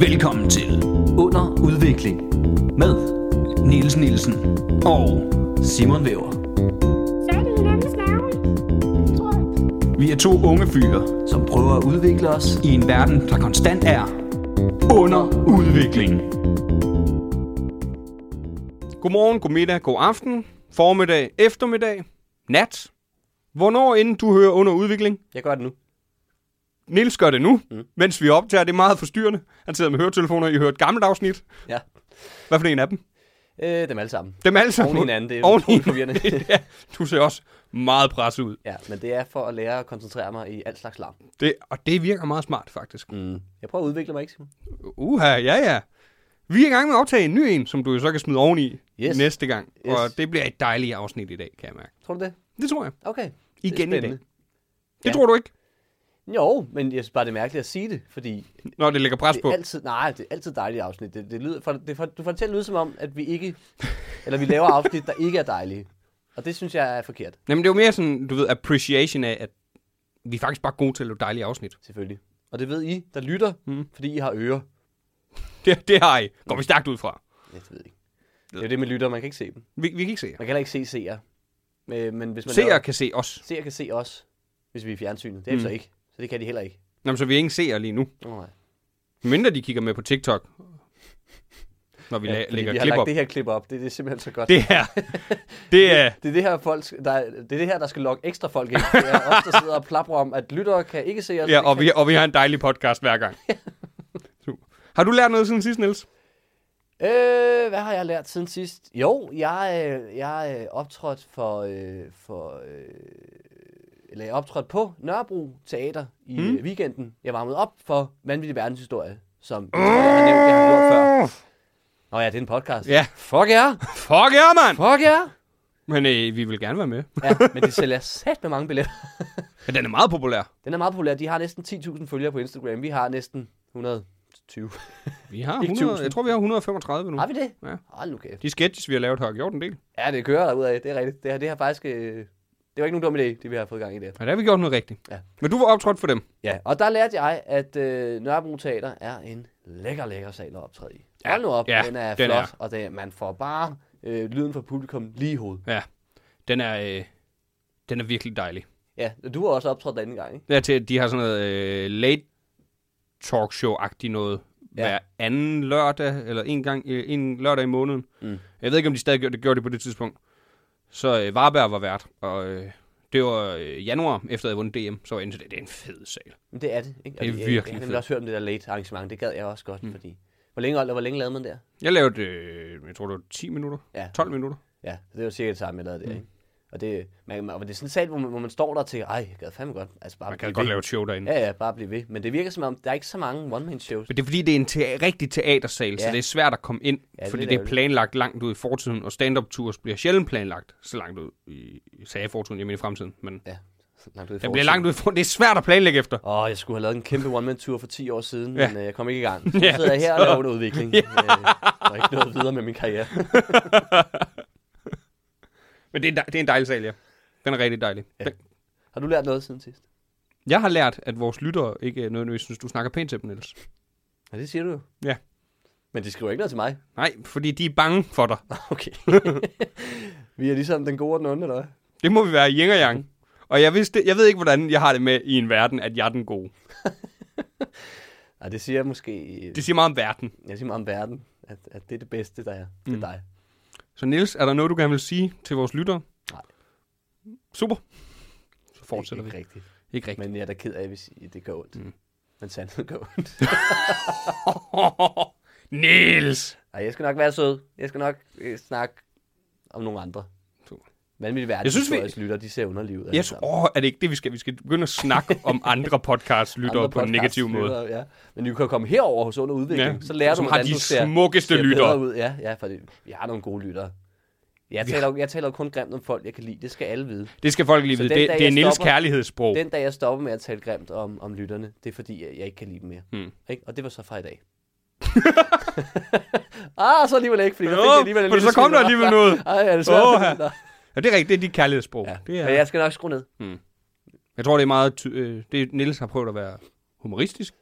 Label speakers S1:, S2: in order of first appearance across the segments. S1: Velkommen til Under Udvikling med Niels Nielsen og Simon Væver.
S2: Så er det hinandens navn. Tror jeg.
S1: Vi er to unge fyre
S3: som prøver at udvikle os.
S1: i en verden, der konstant er under udvikling.
S4: Godmorgen, godmiddag, god aften, formiddag, eftermiddag, nat. Hvornår inden du hører under udvikling?
S3: Jeg gør det nu.
S4: Nils gør det nu, mm. mens vi optager. Det er meget forstyrrende. Han sidder med høretelefoner. I hører et gammelt afsnit.
S3: Ja,
S4: Hvad for en af dem?
S3: øh, dem alle sammen.
S4: Dem alle sammen.
S3: Oven i hinanden, det er
S4: Oven i
S3: utroligt forvirrende.
S4: hinanden. ja, du ser også meget presset ud.
S3: Ja, men det er for at lære at koncentrere mig i alt slags larm.
S4: Det, og det virker meget smart, faktisk.
S3: Mm. Jeg prøver at udvikle mig, ikke Simon?
S4: Uha, ja ja. Vi er i gang med at optage en ny en, som du jo så kan smide oveni
S3: Yes.
S4: næste gang.
S3: Yes.
S4: Og det bliver et dejligt afsnit i dag, kan jeg mærke.
S3: Tror du det?
S4: Det tror jeg.
S3: Okay. er
S4: Igen i dag.
S3: spændende.
S4: Det
S3: Ja.
S4: tror du ikke,
S3: Jo, men jeg synes bare, det er mærkeligt at sige det, fordi
S4: når det lægger pres
S3: det
S4: på.
S3: er altid, nej, det er altid dejlige afsnit. Det, det lyder, for, det, for, du får det til at lyde som om, at vi ikke, eller vi laver afsnit, der ikke er dejlige. Og det synes jeg er forkert,
S4: Jamen, det var mere sådan, du ved, appreciation af, at vi er faktisk bare gode til at lave dejlige afsnit.
S3: selvfølgelig. Og det ved I, der lytter, mm. fordi I har ører.
S4: Det, det har I. Går vi stærkt ud fra.
S3: Ja, det ved jeg ikke. Det er jo det med lytter, man kan ikke se dem.
S4: Vi, vi kan ikke se jer.
S3: Man kan heller ikke se seere. Øh, Men hvis man laver-
S4: Seere kan se os.
S3: Seere kan se os, hvis vi er i fjernsynet. Det er mm. så ikke. Så det kan de heller ikke.
S4: Jamen, så vi er ingen seere lige nu.
S3: Oh, nej.
S4: Mindre de kigger med på TikTok, når vi la-
S3: fordi
S4: lægger
S3: vi har
S4: klip
S3: lagt
S4: op.
S3: det her klip op. Det, det er simpelthen så godt. Det,
S4: Det her, det er...
S3: det er det her, folk, der, er- det er det her, der skal lokke ekstra folk ind. Det er os, der sidder og plapper om, at lyttere kan ikke se os.
S4: Ja, og vi, og vi har en dejlig podcast hver gang. Super. Har du lært noget siden sidst, Niels?
S3: Øh, hvad har jeg lært siden sidst? Jo, jeg, øh, jeg øh, optrådte for, øh, for øh, eller jeg optrådte på Nørrebro Teater i mm. weekenden. Jeg varmede op for Vanvittig Verdenshistorie, som
S4: Mm.
S3: jeg har nævnt, jeg har gjort før. Nå ja, det er en podcast.
S4: Ja.
S3: Fuck jer! Yeah.
S4: Fuck ja, mand!
S3: Fuck jer! Yeah.
S4: Men øh, vi vil gerne være med.
S3: Ja, men de sælger sat med mange billetter.
S4: Men den er meget populær.
S3: Den er meget populær. De har næsten 10.000 følgere på Instagram. Vi har næsten 120.
S4: Vi har
S3: Ikke
S4: 100,
S3: tusind.
S4: jeg tror, vi har 135 nu.
S3: Har vi det?
S4: Ja.
S3: Hold nu kæft.
S4: De sketches, vi har lavet, har gjort en del.
S3: Ja, det kører derudad. Det er rigtigt. Det her, det her faktisk... Øh, det var ikke nogen dum idé, det vi har fået gang i der.
S4: Ja, der har vi gjort noget rigtigt.
S3: Ja.
S4: Men du var optrådt for dem.
S3: Ja, og der lærte jeg, at øh, Nørrebro Teater er en lækker, lækker sal at optræde i.
S4: Ja,
S3: Hold nu op,
S4: ja,
S3: den er
S4: den
S3: flot,
S4: er.
S3: og det, man får bare øh, lyden fra publikum lige i hovedet.
S4: Ja, den er, øh, den er virkelig dejlig.
S3: Ja, du har også optrådt den anden gang, ikke?
S4: Det er til, at de har sådan noget øh, late talk show-agtigt noget ja.
S3: Ja.
S4: hver anden lørdag, eller en gang øh, en lørdag i måneden. Mm. Jeg ved ikke, om de stadig gjorde det, gjorde det på det tidspunkt. Så øh, Varberg var vært, og øh, det var øh, januar, efter jeg havde vundet DM, så var jeg inde til det. Det er en fed sal.
S3: Men det er det, ikke? Og
S4: Det er
S3: jeg-
S4: virkelig
S3: Jeg
S4: fedt.
S3: har også hørt om det der late arrangement, det gad jeg også godt, mm. fordi... Hvor længe, holdt- hvor længe lavede man der?
S4: Jeg lavede, øh, jeg tror det var 10 minutter, ja.
S3: Ja.
S4: 12 minutter.
S3: Ja, så det var cirka det samme, jeg lavede der, mm. ikke? Og det, man, man, og det er sådan en sal, hvor man, hvor man står der og tænker, ej, jeg gad fandme godt. Altså, bare
S4: Man
S3: blive
S4: kan godt
S3: ved.
S4: lave et show derinde.
S3: Ja, ja, bare blive ved. Men det virker som om, der er ikke så mange one-man-shows.
S4: Men det er fordi, det er en te- rigtig teatersal, ja. så
S3: Ja.
S4: det er svært at komme ind,
S3: Ja, det
S4: ja,
S3: er
S4: fordi
S3: lidt
S4: det er
S3: ærgerligt.
S4: planlagt langt ud i fortiden, og stand-up-tours bliver sjældent planlagt så langt ud i, sagde jeg i fortiden, jeg mener i fremtiden, men
S3: Ja, langt ud
S4: den bliver
S3: i fortiden.
S4: langt ud i fortiden. Det er svært at planlægge efter.
S3: Åh, jeg skulle have lavet en kæmpe one-man-tour for 10 år siden,
S4: Ja.
S3: ja. men øh, jeg kom ikke i gang. Så
S4: Ja,
S3: sidder jeg her
S4: så-
S3: og laver en udvikling. Øh, der er ikke noget videre med min karriere.
S4: Men det er, en dej- det er en dejlig sal, ja. Den er rigtig dejlig. Ja. Den,
S3: Har du lært noget siden sidst?
S4: jeg har lært, at vores lyttere ikke øh, nødvendigvis synes, du snakker pænt til dem, Niels.
S3: Ja, det siger du jo.
S4: Ja.
S3: Men de skriver ikke noget til mig.
S4: Nej, fordi de er bange for dig.
S3: Okay. Vi er ligesom den gode og den onde, eller hvad?
S4: Det må vi være i yin og yang. Og jeg, vidste, jeg ved ikke, hvordan jeg har det med i en verden, at jeg er den gode.
S3: Nej, det siger jeg måske...
S4: Det siger meget om verden.
S3: Jeg siger meget om verden, at, at det er det bedste, der er. Det er mm. dig.
S4: Så Niels, er der noget, du gerne vil sige til vores lyttere?
S3: Nej.
S4: Super. Så fortsætter
S3: ikke,
S4: vi.
S3: ikke rigtigt.
S4: Ikke rigtigt.
S3: Men jeg er da ked af, hvis I- det gør ondt. Mm. Men sandheden gør ondt.
S4: Niels!
S3: Ej, jeg skal nok være sød. Jeg skal nok øh, snakke om nogle andre.
S4: Super.
S3: Vanvittige verden,
S4: Jeg synes, vi-
S3: lytter, de ser underlivet.
S4: Jeg tror, åh, er det ikke det, vi skal? Vi skal begynde at snakke om andre podcastlyttere på en negativ måde.
S3: Ja. Men du kan komme herover hos Under Udvikling,
S4: Ja,
S3: ja. så lærer
S4: som
S3: du,
S4: har
S3: hvordan
S4: de
S3: du ser,
S4: smukkeste
S3: ser
S4: lyttere.
S3: bedre ud. Ja, ja, for det, vi har nogle gode lyttere. Jeg taler, jo- jeg taler jo kun grimt om folk, jeg kan lide. Det skal alle vide.
S4: Det skal folk lige
S3: Så
S4: vide.
S3: den
S4: Det,
S3: dag,
S4: det er
S3: jeg
S4: Niels
S3: stopper-
S4: kærlighedssprog.
S3: Den dag, jeg stopper med at tale grimt om, om lytterne, det er fordi, jeg, jeg ikke kan lide dem mere.
S4: Hmm.
S3: Ikke? Og det var så fra i dag. ah, så alligevel ikke, fordi der fik
S4: Åh,
S3: jeg alligevel en
S4: men
S3: lille
S4: så kom der
S3: smule.
S4: alligevel noget.
S3: Ej, er det svært?
S4: Åh,
S3: at finde
S4: ja.
S3: ud af?
S4: Ja, det er rigtigt. Det er dit kærlighedssprog.
S3: Ja.
S4: Det
S3: Men
S4: er,
S3: jeg skal nok skrue ned.
S4: jeg tror, det er meget... Ty- øh, det Niels har prøvet at være humoristisk.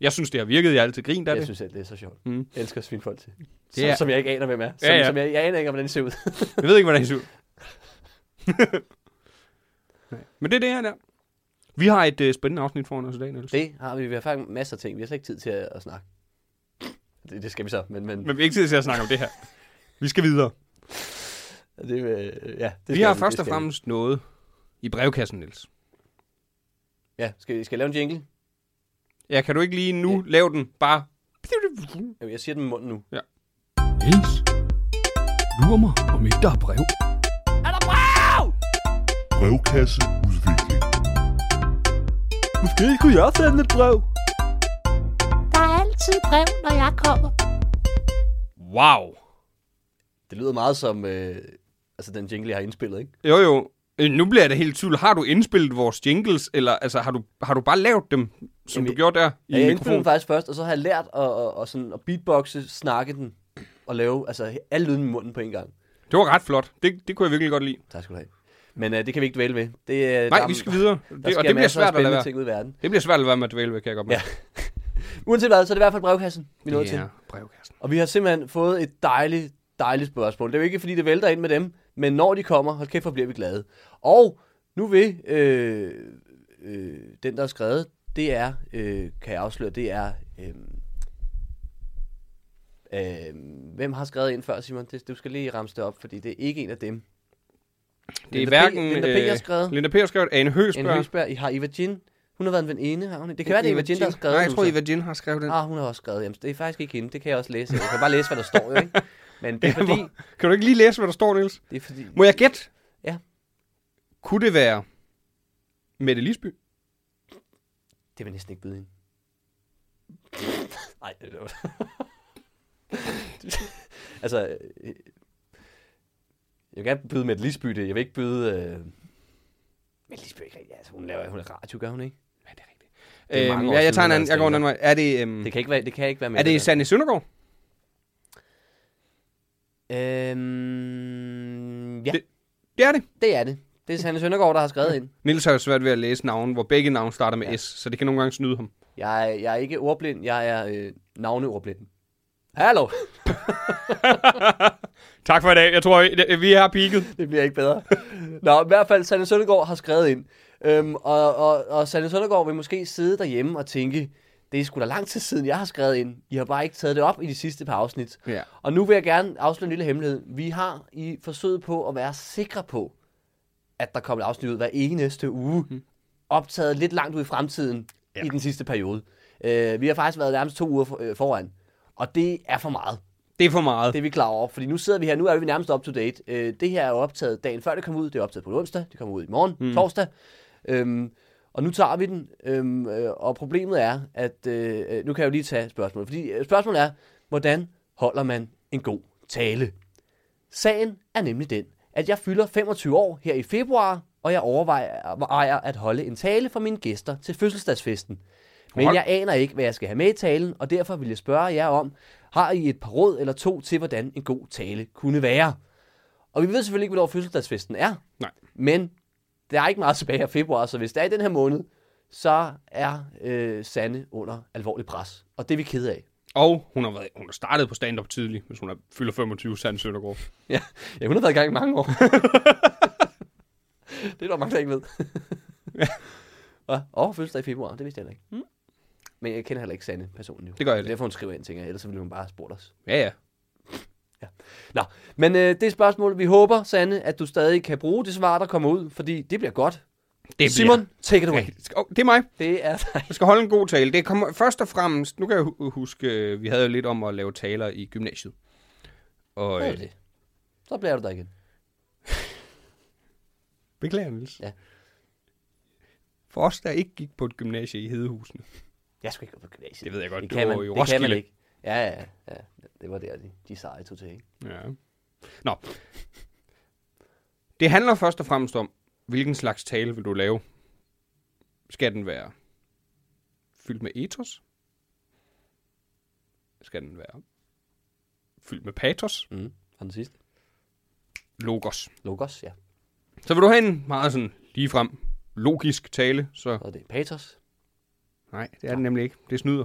S4: Jeg synes, det har virket. Jeg er altid grint af
S3: Jeg
S4: det.
S3: synes selv, det er så sjovt.
S4: Mm.
S3: Mm. Elsker svinfolk til. Som,
S4: er-
S3: yeah. som jeg ikke aner, hvem er. Som,
S4: Ja, ja.
S3: Som jeg, jeg aner ikke, hvordan det ser ud.
S4: Jeg ved ikke, hvordan det ser ud. Nej. Men det er det her der. Vi har et øh, spændende afsnit foran os i dag, Niels.
S3: det har vi. Vi har faktisk masser af ting. Vi har slet ikke tid til at, at snakke. Det, det skal vi så, men, men, men
S4: Men vi er ikke tid til at snakke om det her. Vi skal videre.
S3: det, øh, ja, det
S4: Vi
S3: skal
S4: har
S3: det
S4: først og
S3: skal vi.
S4: fremmest noget i brevkassen, Niels.
S3: Ja, skal, skal jeg lave en jingle?
S4: Ja, kan du ikke lige nu lave den bare...
S3: Jamen, Jeg siger den med munden nu.
S1: Niels, lurer mig, om ikke der er brev.
S5: Brevkasse Udvikling.
S1: Måske kunne jeg sende et brev.
S2: Der er altid brev, når jeg kommer.
S4: Wow!
S3: Det lyder meget som øh, altså den jingle, jeg har indspillet, ikke?
S4: Jo, jo. Øh, Nu bliver jeg da helt tvivl. Har du indspillet vores jingles, eller altså, har, du, har du bare lavet dem, som
S3: Jamen,
S4: du gjorde der i
S3: Ja, jeg indspillede
S4: mikrofonen?
S3: den faktisk først, og så har jeg lært at, at, at, sådan, at beatboxe, snakke den og lave altså, alle lyden i munden på en gang.
S4: Det var ret flot. Det, det kunne jeg virkelig godt lide.
S3: Tak skal du have. Men øh, det kan vi ikke dvæle ved. Det, øh,
S4: Nej, vi skal videre. Det,
S3: Der sker
S4: og det bliver
S3: masser af
S4: svært at lade
S3: spændende
S4: være.
S3: ting ud i verden.
S4: Det bliver svært at lade være med at dvæle ved, kan jeg godt
S3: Ja, Uanset hvad, så er det i hvert fald brevkassen, vi nåede til.
S4: brevkassen.
S3: Og vi har simpelthen fået et dejligt, dejligt spørgsmål. Det er jo ikke, fordi det vælter ind med dem, men når de kommer, hold kæft, hvor bliver vi glade. Og nu vil øh, øh, den, der er skrevet, det er, øh, kan jeg afsløre, det er... Øh, øh, hvem har skrevet ind før, Simon? Det, du skal lige ramse det op, fordi det er ikke en af dem.
S4: Det er
S3: Linda P-
S4: hverken...
S3: Linda P. har skrevet.
S4: øh, Linda P. har skrevet. Ane Høgh
S3: En
S4: spørger.
S3: Høsberg, I har Eva Jean. Hun har været en veninde, har hun ikke? Det kan være, det er Eva Jean, der har skrevet
S4: Nej, jeg
S3: nu,
S4: tror,
S3: så.
S4: Eva Jean har skrevet den.
S3: Ah, hun har også skrevet. Jamen, det er faktisk ikke hende. Det kan jeg også læse. Jeg kan bare læse, hvad der står, jo, ikke? Men det er fordi...
S4: Kan du ikke lige læse, hvad der står, Niels?
S3: Det er fordi...
S4: Må jeg gætte?
S3: Ja.
S4: Kunne det være Mette Lisby?
S3: Det vil jeg næsten ikke byde hende. Nej, det var... altså... øh, Jeg vil gerne byde med et Lisby det. Jeg vil ikke byde... Øh... Men Lisby, er ikke rigtig- altså, hun laver hun er radio, gør hun ikke?
S4: Ja, det er rigtigt.
S3: Det er
S4: Øhm,
S3: mange år
S4: ja, jeg
S3: siden,
S4: tager en
S3: hun
S4: anden.
S3: havde
S4: Jeg går en
S3: stand-up.
S4: anden vej. Er det, øhm,
S3: Det kan ikke være, det kan ikke være med.
S4: er det
S3: der.
S4: Sanne Søndergaard?
S3: Øhm, ja, det...
S4: Det Mm. er det.
S3: det er det. Det er Sanne Søndergaard, der har skrevet ind.
S4: Niels har jo svært ved at læse navne, hvor begge navne starter med
S3: Ja.
S4: S, så det kan nogle gange snyde ham.
S3: Jeg, er- jeg er ikke ordblind, jeg er øh, navneordblind. Hallo!
S4: Tak for i dag. Jeg tror, I- vi har peaked.
S3: Det bliver ikke bedre. Nå, i hvert fald, Sanne Søndergaard har skrevet ind. Øhm, og, og, og Sanne Søndergaard vil måske sidde derhjemme og tænke, det er sgu da lang tid siden, jeg har skrevet ind. I har bare ikke taget det op i de sidste par afsnit.
S4: Ja.
S3: Og nu vil jeg gerne afsløre en lille hemmelighed. Vi har i forsøget på at være sikre på, at der kommer et afsnit ud hver eneste uge, optaget lidt langt ud i fremtiden ja. i den sidste periode. Øh, vi har faktisk været nærmest to uger for, øh, foran, og det er for meget.
S4: Det er for meget.
S3: Det er vi klar over, fordi nu sidder vi her, nu er vi nærmest up to date. Øh, det her er jo optaget dagen før det kom ud, det er optaget på en onsdag, det kommer ud i morgen, mm. torsdag. Øhm, og nu tager vi den, øhm, øh, og problemet er, at øh, øh, nu kan jeg jo lige tage spørgsmålet, fordi øh, spørgsmålet er, hvordan holder man en god tale? Sagen er nemlig den, at jeg fylder 25 år her i februar, og jeg overvejer ejer at holde en tale for mine gæster til fødselsdagsfesten. Men
S4: Hold.
S3: jeg aner ikke, hvad jeg skal have med i talen, og derfor vil jeg spørge jer om, har I et par råd eller to til, hvordan en god tale kunne være? Og vi ved selvfølgelig ikke, hvornår fødselsdagsfesten er,
S4: Nej.
S3: men der er ikke meget tilbage af februar, så hvis det er i den her måned, så er øh, Sande under alvorlig pres. Og det er vi ked af.
S4: Og hun har, været, hun har startet på stand-up tidligt, hvis hun er fylder 25, Sanne Søndergaard.
S3: Ja, ja hun har været i gang i mange år. det er der mange, der ikke ved. Hvad? Og fødselsdag i februar, det vidste jeg heller ikke. Mm. Men jeg kender heller ikke Sande personen jo.
S4: Det gør jeg
S3: Det er derfor, hun skriver ind, tænker jeg. Ellers så ville hun bare have spurgt os.
S4: Ja, ja.
S3: Nå, men øh, det er spørgsmål, vi håber, Sande, at du stadig kan bruge det svar, der kommer ud, fordi det bliver godt.
S4: Det
S3: Simon, take it away.
S4: Bliver... Oh, det er mig.
S3: Det er dig.
S4: Jeg skal holde en god tale. Det kommer først og fremmest... Nu kan jeg hu- huske, øh, vi havde jo lidt om at lave taler i gymnasiet. Og,
S3: Hvad er
S4: øh,
S3: det? Så bliver du der igen.
S4: beklager, Niels.
S3: Ja.
S4: For os, der ikke gik på et gymnasie i Hedehusene.
S3: Jeg skal ikke gå på gymnasiet.
S4: Det ved jeg godt,
S3: det
S4: du
S3: kan
S4: var
S3: man,
S4: i
S3: det kan man
S4: Roskilde.
S3: ikke. Ja, ja, ja. Det var der, de, de seje tog til, ikke?
S4: Ja. Nå. Det handler først og fremmest om, hvilken slags tale vil du lave? Skal den være fyldt med ethos? Skal den være fyldt med patos?
S3: Mm. Og den sidste?
S4: Logos.
S3: Logos, ja.
S4: Så vil du have en meget sådan ligefrem logisk tale, så
S3: Og det er patos.
S4: Nej, det er den nemlig ikke. Det snyder.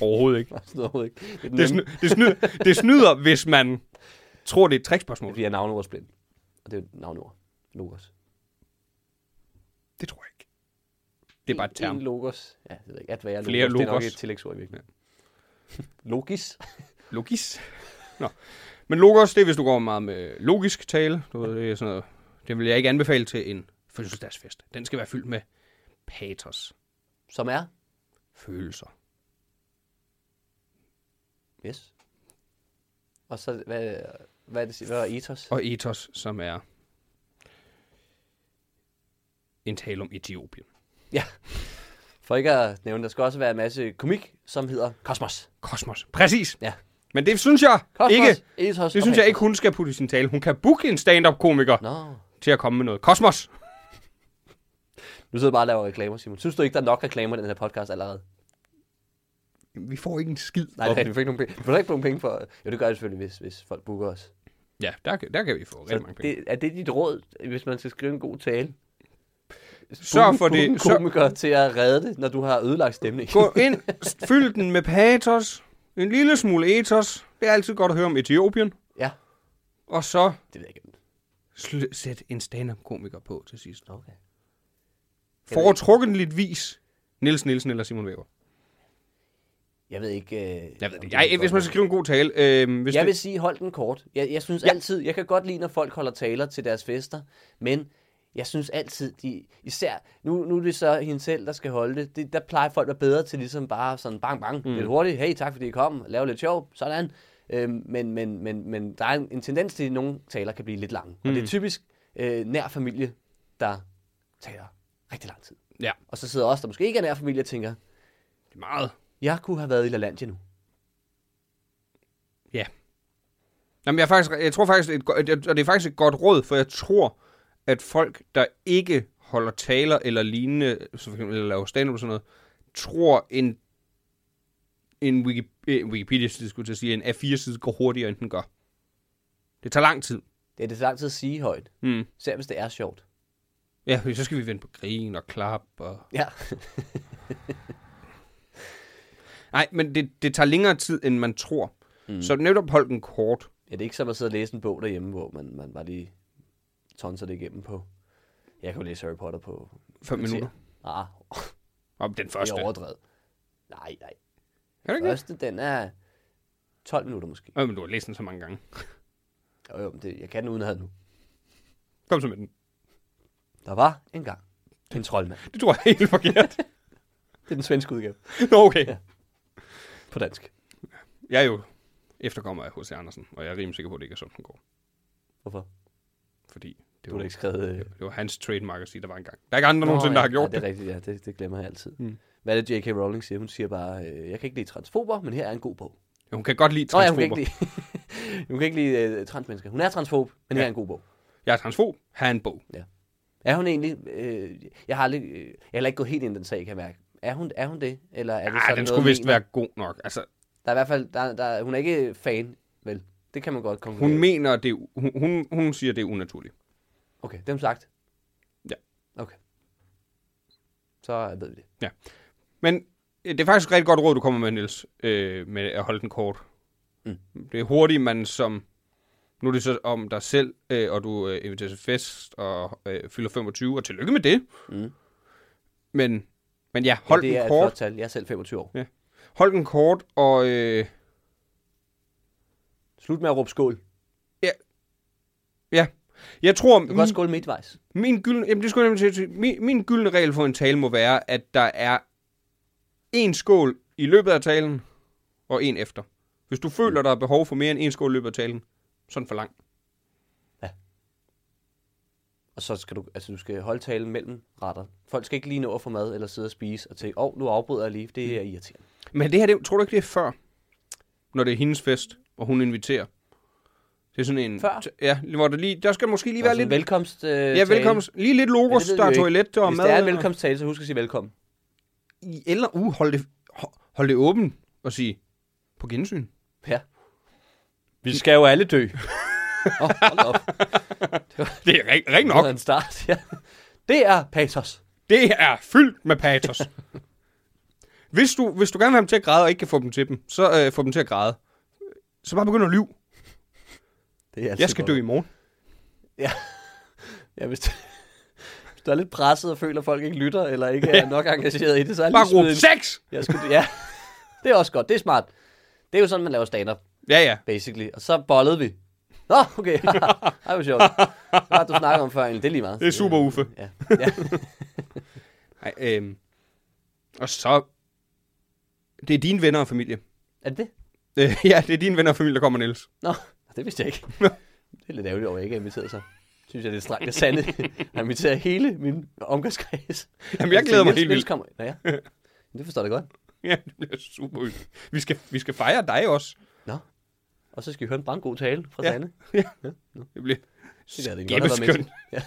S4: Overhovedet ikke.
S3: Sådan noget overhovedet ikke. Det er den
S4: Det,
S3: nemme-
S4: sny, det, snyder, det snyder, hvis man tror, det er et trickspørgsmål.
S3: Vi er navneordsblind. Og det er jo et navneord. Logos.
S4: Det tror jeg ikke. Det er bare et term.
S3: En logos. Ja, det ved jeg ikke. At være
S4: Flere
S3: logos. Det er nok
S4: logos.
S3: et tillægsord i virkeligheden. Logis.
S4: Logis. Nå. Men logos, det er, hvis du går meget med logisk tale. Du ved, det er sådan noget. Det vil jeg ikke anbefale til en fødselsdagsfest. Den skal være fyldt med patos.
S3: Som er.
S4: Følelser.
S3: Yes. Og så, hvad, hvad er det, hvad er ethos?
S4: Og ethos, som er en tale om Etiopien.
S3: Ja. For ikke at nævne, der skal også være en masse komik, som hedder Kosmos.
S4: Kosmos. Præcis.
S3: Ja.
S4: Men det synes jeg
S3: Kosmos,
S4: ikke...
S3: ethos
S4: Det
S3: og
S4: synes jeg
S3: patos.
S4: ikke, hun skal putte i sin tale. Hun kan booke en stand-up-komiker
S3: Nå.
S4: til at komme med noget. Kosmos!
S3: Nu sidder jeg bare og laver reklamer, Simon. Synes du ikke, der er nok reklamer i den her podcast allerede?
S4: Vi får ikke en skid.
S3: Nej, det er rigtigt. vi fik nogle penge. Vi får da ikke nogle penge for... Jo, det gør jeg selvfølgelig, hvis, hvis folk booker os.
S4: Ja, der, kan- der kan vi få rigtig mange penge.
S3: Det, er det dit råd, hvis man skal skrive en god tale?
S4: Sørg for det.
S3: Book en komiker til at redde det, når du har ødelagt stemningen.
S4: Gå ind, s- fyld den med patos, en lille smule ethos. Det er altid godt at høre om Etiopien.
S3: Ja,
S4: Og så
S3: det ved jeg ikke.
S4: sl- sæt en stand-up-komiker på til sidst.
S3: Okay.
S4: Foretrukkenligt vis. Niels Nielsen eller Simon Weber.
S3: Jeg ved ikke... Øh,
S4: Jeg ved
S3: om
S4: det. Jeg,
S3: er
S4: hvis man skal skrive en god tale. Øh, hvis
S3: Jeg
S4: det,
S3: vil sige, hold den kort. Jeg, jeg synes
S4: Ja.
S3: ja. altid, jeg kan godt lide, når folk holder taler til deres fester, men jeg synes altid, de, især, nu, nu er det så hende selv, der skal holde det, det der plejer folk at være bedre til ligesom bare sådan bang bang, mm. lidt hurtigt, hey tak fordi I kom, lave lidt sjov, sådan. Øhm, men, men, men, men der er en, en tendens til, at nogle taler kan blive lidt lange, mm. og det er typisk øh, nær familie, der taler rigtig lang tid.
S4: Ja,
S3: Og så sidder også der måske ikke er nær familie og tænker,
S4: det er meget.
S3: jeg kunne have været i LaLandia nu.
S4: Ja. Jamen, jeg, er faktisk, jeg tror faktisk, et, go- et- og det er faktisk et godt råd, for jeg tror, at folk, der ikke holder taler eller lignende, så for eksempel, eller laver stand-up og sådan noget, tror en, en Wiki, eh, Wikipedia-side, skulle jeg til at sige, en A4-side går hurtigere, end den gør. Det tager lang tid.
S3: Det er det så lang tid at sige højt,
S4: Mm.
S3: især hvis det er sjovt.
S4: Ja, fordi så skal vi vente på grin og klap. Og...
S3: Ja.
S4: Nej, men det, det tager længere tid, end man tror. Mm. Så netop hold den kort.
S3: Ja, det er ikke som at sidde og læse en bog derhjemme, hvor man, man bare lige tonser det igennem på. Jeg kan jo læse Harry Potter på...
S4: 5
S3: kvarter.
S4: minutter.
S3: Ah,
S4: Om den
S3: det
S4: første.
S3: er overdrevet. Nej, nej.
S4: Kan du ikke det?
S3: Første, den er 12 minutter måske.
S4: Øh, men du har læst den så mange gange.
S3: Jo, jo, men det, jeg kan den uden at have den nu.
S4: Kom så med den.
S3: Der var en gang en troldmand.
S4: Det tror jeg er helt forkert.
S3: Det er den svenske udgave
S4: Nå, okay.
S3: Ja. på dansk.
S4: Jeg er jo efterkommer af H.C. Andersen, og jeg er rimelig sikker på, at det ikke er sådan, den går.
S3: Hvorfor?
S4: Fordi det
S3: Du har
S4: var,
S3: da ikke skrevet... Øh...
S4: det var hans trademark at sige, der var engang. Der er ikke andre Nå,
S3: Nå,
S4: nogensinde, der har
S3: ja,
S4: gjort
S3: ja, det.
S4: det.
S3: er rigtigt, ja. Det, det glemmer jeg altid. Mm. Hvad er det, J.K. Rowling siger? Hun siger bare, øh, jeg kan ikke lide transfober, men her er en god bog.
S4: Ja, Hun kan godt lide
S3: Nå, ja, hun kan
S4: transfober.
S3: ikke lide, hun kan ikke lide øh, transmennesker. Hun er transfob, men ja. her er en god bog.
S4: jeg er transfob, her er en bog.
S3: Er hun egentlig... Øh, jeg har aldrig, øh, jeg har heller ikke gået helt ind i den sag, kan jeg mærke. Er hun, er hun det? Eller er det
S4: Ja,
S3: sådan
S4: Ah, den
S3: noget,
S4: skulle
S3: hun
S4: vist
S3: mener?
S4: være god nok. Altså,
S3: Der er i hvert fald... Der, der, hun er ikke fan, vel? Det kan man godt konkludere.
S4: hun mener, det, er- hun, hun, hun siger, det er unaturligt.
S3: Okay, dem sagt.
S4: Ja.
S3: Okay. Så ved vi det.
S4: Ja. Men øh, det er faktisk et rigtig godt råd, du kommer med, Niels, øh, med at holde den kort. Mm. Det er hurtigt, man som... Nu er det så om dig selv, øh, og du øh, inviterer til fest og øh, fylder 25, og tillykke med det. Mm. Men, men ja, hold
S3: ja, det
S4: ja,
S3: er
S4: den
S3: et flot
S4: kort.
S3: tal. Jeg er selv 25 år.
S4: Ja. Hold den kort, og øh,
S3: Slut med at råbe skål. Du
S4: ja. Jeg tror,
S3: kan
S4: min,
S3: godt skåle midtvejs.
S4: min, gyldne, jamen, det skulle jeg nemlig til, at sige. min, min gyldne regel for en tale må være, at der er en skål i løbet af talen, og en efter. Hvis du føler, der er behov for mere end en skål i løbet af talen, så er den for lang.
S3: Og så skal du, altså du skal holde talen mellem retter. Folk skal ikke lige nå at få mad eller sidde og spise og tænke, åh, oh, nu afbryder jeg lige. Det
S4: Mm.
S3: er irriterende.
S4: Men det her, det, tror du ikke, det er før? Når det er hendes fest, og hun inviterer. Det er sådan en...
S3: Før?
S4: T- ja, hvor der, lige, der skal måske lige
S3: Det er
S4: være
S3: lidt...
S4: lidt...
S3: velkomst øh,
S4: ja, velkommen. Lige lidt logos, der er toilet og
S3: Hvis
S4: mad.
S3: det er en
S4: og-
S3: velkomsttale, så husk at sige velkommen.
S4: Eller, uh, hold det, ho- hold det åbent og sige, på gensyn.
S3: Ja. Vi skal jo alle dø. Åh, oh, hold da op.
S4: Det er rigtig rig
S3: Det
S4: nok.
S3: var en start, ja. Det er patos.
S4: Det er fyldt med patos. Hvis du, hvis du gerne vil have dem til at græde, og ikke kan få dem til dem, så øh, få dem til at græde. Så bare begynd at lyve.
S3: Det er altid
S4: Jeg skal
S3: godt.
S4: dø i morgen.
S3: Ja, hvis, du, hvis du er lidt presset og føler, at folk ikke lytter, eller ikke er nok engageret i det, så er
S4: Bare
S3: det
S4: råb sex!
S3: Jeg skulle, ja, det er også godt. Det er smart. Det er jo sådan, man laver stand-up,
S4: Ja, ja.
S3: basically. Og så bollede vi. Nå, okay. Ej, hvor sjovt. Hvad har du snakker om før, egentlig? Det er lige meget. Øh,
S4: Det er super uffe.
S3: Ja. ja.
S4: Ej, Øh, øhm. Og så... Det er dine venner og familie.
S3: Er det det?
S4: Øh, ja, det er dine venner og familie, der kommer, Niels.
S3: Nå, det vidste jeg ikke. Det er lidt ærgerligt over, at jeg ikke er inviteret så. Synes jeg, det er strengt af sande. Jeg inviterer hele min omgangskreds.
S4: Jamen, jeg glæder mig
S3: Niels-
S4: helt
S3: Niels
S4: vildt.
S3: Kommer. Nå, ja. Men Det forstår jeg da godt.
S4: Ja, det bliver super hyggeligt. Vi skal, vi skal fejre dig også.
S3: Og så skal I høre en brandgod tale fra
S4: Ja.
S3: Sanne. Det
S4: Det bliver
S3: gad jeg da godt have været med
S4: skæbbeskønt.
S3: til.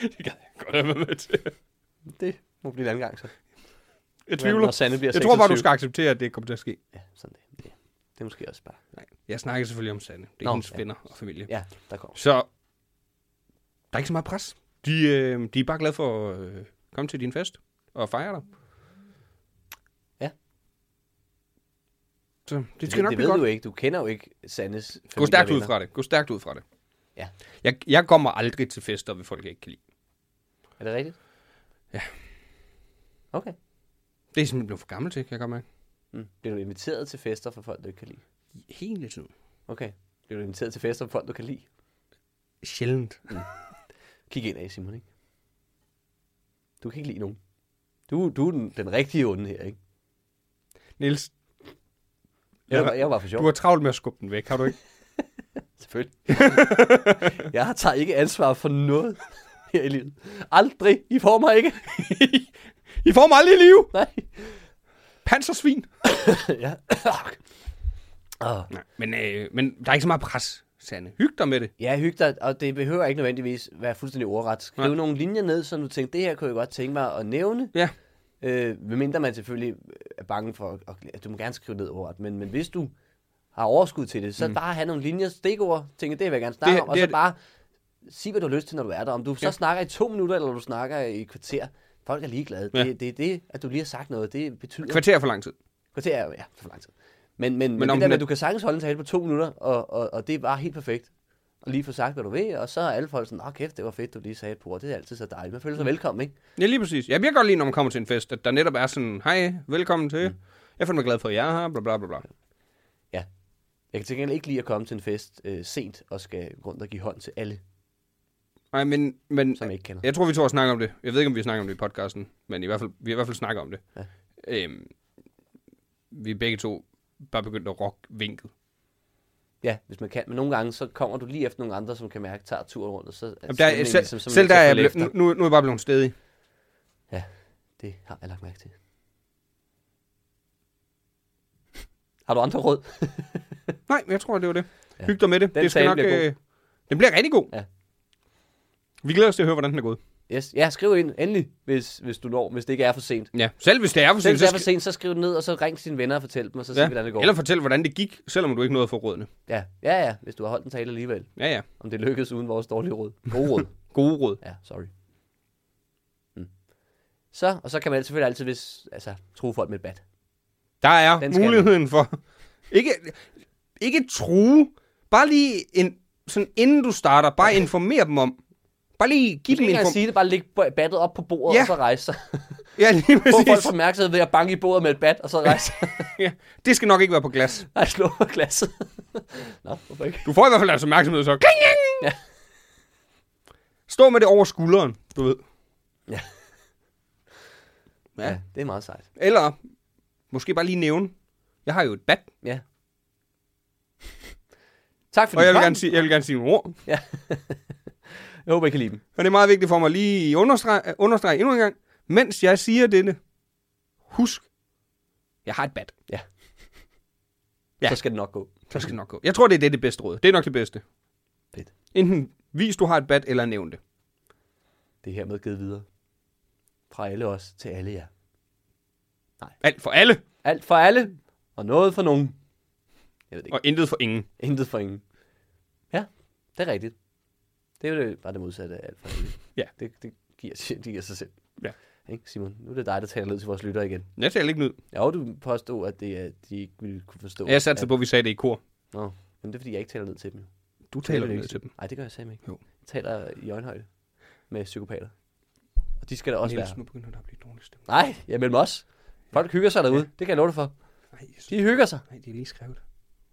S3: Ja,
S4: Det gad jeg godt have været med til.
S3: det må blive en anden gang så.
S4: Jeg
S3: Når- Når
S4: tvivler.
S3: Sanne bliver
S4: Jeg tror bare, du
S3: altså, 26.
S4: skal acceptere, at det kommer til at ske.
S3: Ja, sådan det. det. Det er måske også bare...
S4: Nej, jeg snakker selvfølgelig om Sanne. Det er
S3: Nå,
S4: Nå, hendes
S3: ja.
S4: ja. venner og familie. Ja.
S3: Ja, der kommer.
S4: Så der er ikke så meget pres. De, øh, de er bare glade for at øh, komme til din fest og fejre dig.
S3: Ja.
S4: Så det skal nok
S3: det
S4: blive
S3: ved
S4: godt.
S3: du ikke. Du kender jo ikke Sandes familie
S4: Gå stærkt
S3: og
S4: ud
S3: venner.
S4: fra det. Gå stærkt ud fra det.
S3: Ja.
S4: Jeg, jeg kommer aldrig til fester, hvor folk jeg ikke kan lide.
S3: Er det rigtigt?
S4: Ja.
S3: Okay.
S4: Det er simpelthen blevet for gammel til, kan jeg godt mærke.
S3: Mm. Bliver du inviteret til fester for folk, du ikke kan lide?
S4: Hele tiden.
S3: Okay. Bliver du inviteret til fester for folk, du kan lide?
S4: Sjældent.
S3: Kig ind af, Simon, ikke? Du kan ikke lide nogen. Du, du er den, den rigtige onde her, ikke?
S4: Niels,
S3: Jeg,
S4: Ja.
S3: var, jeg var for sjov,
S4: du har travlt med at skubbe den væk, har du ikke?
S3: selvfølgelig. jeg tager ikke ansvar for noget her i livet. Aldrig. I får mig ikke.
S4: I får mig aldrig i live!
S3: Nej.
S4: Pansersvin!
S3: ja. oh.
S4: Nej, men, øh, men der er ikke så meget pres, Sande. Hyg dig med det.
S3: Ja, hyg dig, og det behøver ikke nødvendigvis være fuldstændig ordret. Skriv
S4: Nej.
S3: nogle linjer ned, som du tænker, det her kunne jeg godt tænke mig at nævne.
S4: Ja.
S3: Øh, medmindre man selvfølgelig er bange for, at- at, at du må gerne skrive ned ordret, men, men hvis du har overskud til det, så mm. bare have nogle linjer, stikord, tænke, det vil jeg gerne snakke
S4: Det-
S3: om, og
S4: det
S3: så
S4: er-
S3: bare sig, hvad du har lyst til, når du er der. Om du så snakker i to minutter, eller du snakker i et kvarter, folk er ligeglade.
S4: Ja.
S3: Ja. Det, det er det, at du lige har sagt noget, det betyder...
S4: Kvarter for lang tid.
S3: Kvarter er jo, ja, for lang tid. Men, men, men, men
S4: om
S3: det der
S4: den
S3: med,
S4: er-
S3: at du kan sagtens holde en tale på to minutter, og, og, og det er bare helt perfekt. Og lige få sagt, hvad du ved, og så er alle folk sådan, åh kæft, det var fedt, du lige sagde et par ord. Det er altid så dejligt. Man føler
S4: Mm.
S3: sig velkommen, ikke?
S4: Ja, lige præcis. Jeg bliver godt lide, når man kommer til en fest, at der netop er sådan, hej, velkommen til. Mm. Jeg finder mig glad for, at jeg er her, bla bla bla bla.
S3: Jeg kan til gengæld ikke lide at komme til en fest øh, sent og skal gå rundt og give hånd til alle,
S4: Nej, men, men
S3: som jeg ikke kender.
S4: jeg tror, vi to har snakket om det. Jeg ved ikke, om vi har snakket om det i podcasten, men i hvert fald, vi har i hvert fald snakket om det.
S3: Ja.
S4: Øhm, vi er begge to bare begyndt at rock vinket.
S3: Ja, hvis man kan. Men nogle gange, så kommer du lige efter nogle andre, som kan mærke, tager turen rundt, og så...
S4: Jamen, der,
S3: så er man
S4: er, selv,
S3: ligesom- så er man
S4: selv
S3: nødt
S4: der
S3: til
S4: er
S3: at
S4: jeg
S3: følge
S4: blevet,
S3: efter.
S4: nu, nu er jeg bare blevet stedig.
S3: Ja, det har jeg lagt mærke til. Har du andre råd?
S4: Nej, jeg tror, det var det.
S3: Ja.
S4: Ja. Hyg dig med det.
S3: Den
S4: det skal
S3: tale
S4: nok,
S3: bliver god.
S4: øh, den bliver rigtig god.
S3: Ja.
S4: Vi glæder os til at høre, hvordan den er gået.
S3: Yes. Ja, skriv ind endelig, hvis, hvis du når, hvis det ikke er for sent.
S4: Ja, selv hvis det er for
S3: Selv
S4: sent,
S3: hvis
S4: så
S3: det er for
S4: skal,
S3: sent, så skriv det ned, og så ring til dine venner og fortæl dem, og så sig,
S4: Ja.
S3: hvordan det går.
S4: Eller fortæl, hvordan det gik, selvom du ikke nåede at få rådene.
S3: Ja. ja, ja, hvis du har holdt en tale alligevel.
S4: Ja, ja.
S3: Om det lykkedes uden vores dårlige råd. Gode råd.
S4: Gode råd.
S3: Ja, sorry. Mm. Så, og så kan man selvfølgelig altid, hvis, altså, tro folk med et bat.
S4: Der er
S3: Den skal
S4: muligheden for... Ikke, ikke true. Bare lige en, sådan, inden du starter, bare informer dem om. Bare lige give
S3: Giv
S4: dem
S3: dem en
S4: inform...
S3: sige det, bare læg bo- battet op på bordet,
S4: Ja.
S3: og så rejse sig.
S4: Ja, lige
S3: Få folks
S4: præcis.
S3: opmærksomhed ved at banke i bordet med et bat, og så rejse sig.
S4: Ja. Det skal nok ikke være på glas.
S3: Nej, slå på glasset. Nå, hvorfor ikke?
S4: Du får i hvert fald deres opmærksomhed, så... Kling, kling!
S3: Ja.
S4: Stå med det over skulderen, du ved.
S3: Ja.
S4: ja.
S3: Ja, det er meget sejt.
S4: Eller måske bare lige nævne. Jeg har jo et bat,
S3: Ja. Tak for
S4: og jeg
S3: din
S4: vil
S3: kom.
S4: gerne sige, jeg vil gerne sige nogle ord.
S3: Ja. jeg håber, I kan lide dem.
S4: Og det er meget vigtigt for mig lige at understrege, at understrege endnu en gang, mens jeg siger dette, husk, jeg har et bat.
S3: Ja. ja.
S4: Ja.
S3: Så skal det nok gå.
S4: Så skal det nok gå. Jeg tror, det er det, det bedste råd. Det er nok det bedste.
S3: Fedt.
S4: Enten vis, du har et bat, eller nævn det.
S3: Det er hermed givet videre. Fra alle os til alle jer.
S4: Alt for alle,
S3: Alt for alle, og noget for nogen. Jeg ved det ikke.
S4: og intet for ingen.
S3: Intet for ingen. Ja, det er rigtigt. Det er jo det- bare det modsatte af alt for alle.
S4: Ja.
S3: Det, det giver, det giver sig selv.
S4: Ja.
S3: Ikke, Simon? Nu er det dig, der taler ned til vores lytter igen.
S4: Jeg taler ikke ned.
S3: Jo, du påstod, at det, er- de ikke ville kunne forstå.
S4: Jeg satte
S3: at-
S4: på, at vi sagde det i kor.
S3: Nå, men det er, fordi jeg ikke taler ned til dem. jo.
S4: Du taler
S3: det
S4: ned
S3: ikke.
S4: til dem.
S3: Nej, det gør jeg sammen ikke.
S4: Jo.
S3: Jeg taler i øjenhøjde med psykopater. Og de skal der også
S4: Niels,
S3: være.
S4: nu begynder der at blive dårlig stemning.
S3: Nej, jeg mellem os. Folk hygger sig derude. Det kan jeg love dig for.
S4: Nej, jeg synes-
S3: De hygger sig.
S4: nej, de er lige skrevet.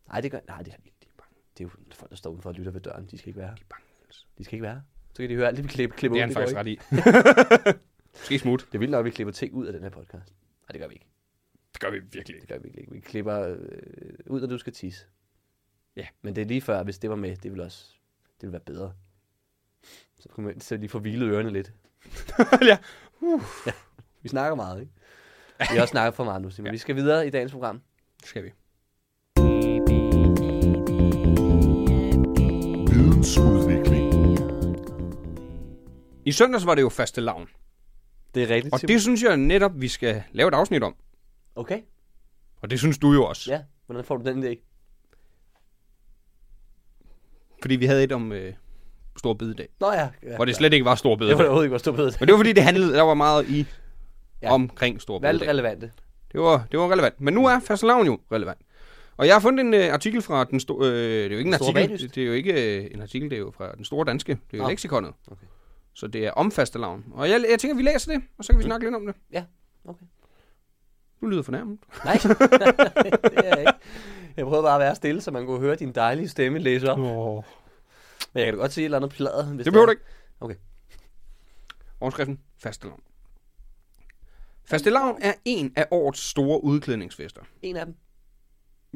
S3: Nej, det gør Nej, det,
S4: De er bange.
S3: det er jo folk, der står udenfor og lytter ved døren. De skal ikke være her.
S4: De er bange, Niels.
S3: De skal ikke være her. Så kan de høre alt det, vi klipper, klipper
S4: Det er
S3: ud.
S4: han
S3: går
S4: faktisk
S3: ikke.
S4: ret i. Måske smut.
S3: Det er vildt nok, at vi klipper ting ud af den her podcast. Nej, det gør vi ikke.
S4: Det gør vi virkelig
S3: Det
S4: ikke.
S3: gør vi virkelig ikke. Vi klipper øh, ud, når du skal tisse.
S4: Ja.
S3: Men det er lige før, hvis det var med, det ville også det ville være bedre. Så kunne man så lige få hvilet ørerne lidt.
S4: ja.
S3: Vi snakker meget, ikke? Vi har også snakket for meget nu, Simon. Ja. Vi skal videre i dagens program.
S4: Det skal vi.
S5: Vidensudvikling.
S4: I søndags var det jo faste lavn.
S3: Det er rigtigt,
S4: Og det synes jeg netop, vi skal lave et afsnit om.
S3: Okay,
S4: Og det synes du jo også.
S3: ja. Hvordan får du den idé?
S4: Fordi vi havde et om øh, Stor Bededag.
S3: Nå ja. ja
S4: Hvor det slet ikke var Stor
S3: det var
S4: Bededag.
S3: overhovedet ikke, hvor stor bededag.
S4: Men det var fordi, det handlede, der var meget i
S3: Ja.
S4: ja. omkring Stor
S3: Valgt
S4: Bededag.
S3: relevante.
S4: Det var, det var relevant. Men nu er fastelavn jo relevant. Og jeg har fundet en øh, artikel fra den store... Øh, det er jo ikke en
S3: Store
S4: artikel.
S3: Baglyst?
S4: Det, det er jo ikke øh, en artikel, det er jo fra den store danske. Det er jo
S3: Nå.
S4: oh. leksikonet.
S3: Okay.
S4: Okay. Så det er om fastelavn. Og jeg, jeg tænker, vi læser det, og så kan vi snakke lidt om det.
S3: Mm. Ja, okay.
S4: Du lyder fornærmet.
S3: Nej, det er jeg ikke. Jeg prøvede bare at være stille, så man kunne høre din dejlige stemme læse op.
S4: Oh.
S3: Men jeg kan da godt sige et eller andet plader. Hvis
S4: Det behøver
S3: er.
S4: du ikke.
S3: Okay.
S4: Overskriften. Fastelavn. Fastelavn er en af årets store udklædningsfester.
S3: En af dem.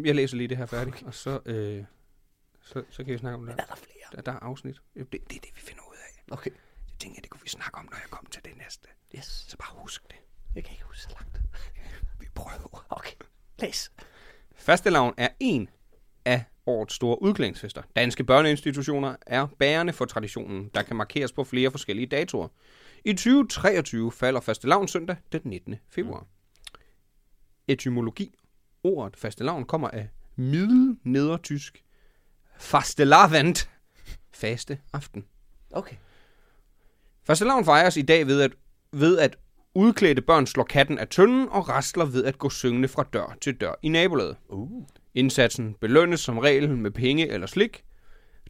S4: Jeg læser lige det her færdigt, okay. og så, øh, så, så kan vi snakke om det.
S3: Er
S4: her.
S3: der flere?
S4: Der, der er afsnit. Det, det er det, vi finder ud af.
S3: Okay.
S4: Jeg tænker, det kunne vi snakke om, når jeg kommer til det næste.
S3: Yes.
S4: Så bare husk det.
S3: Jeg kan ikke huske så langt. Uh,
S4: Vi prøver.
S3: Okay. Læs.
S4: Fastelavn er en af årets store udklædningsfester. Danske børneinstitutioner er bærende for traditionen, der kan markeres på flere forskellige datoer. I 2023 falder fastelavn søndag den 19. februar. Etymologi. Ordet fastelavn kommer af middelnedertysk fastelavant, faste aften.
S3: Okay.
S4: Fastelavn fejres i dag ved at, ved at udklædte børn slår katten af tønden og rasler ved at gå syngende fra dør til dør i nabolaget.
S3: Uh.
S4: Indsatsen belønnes som regel med penge eller slik.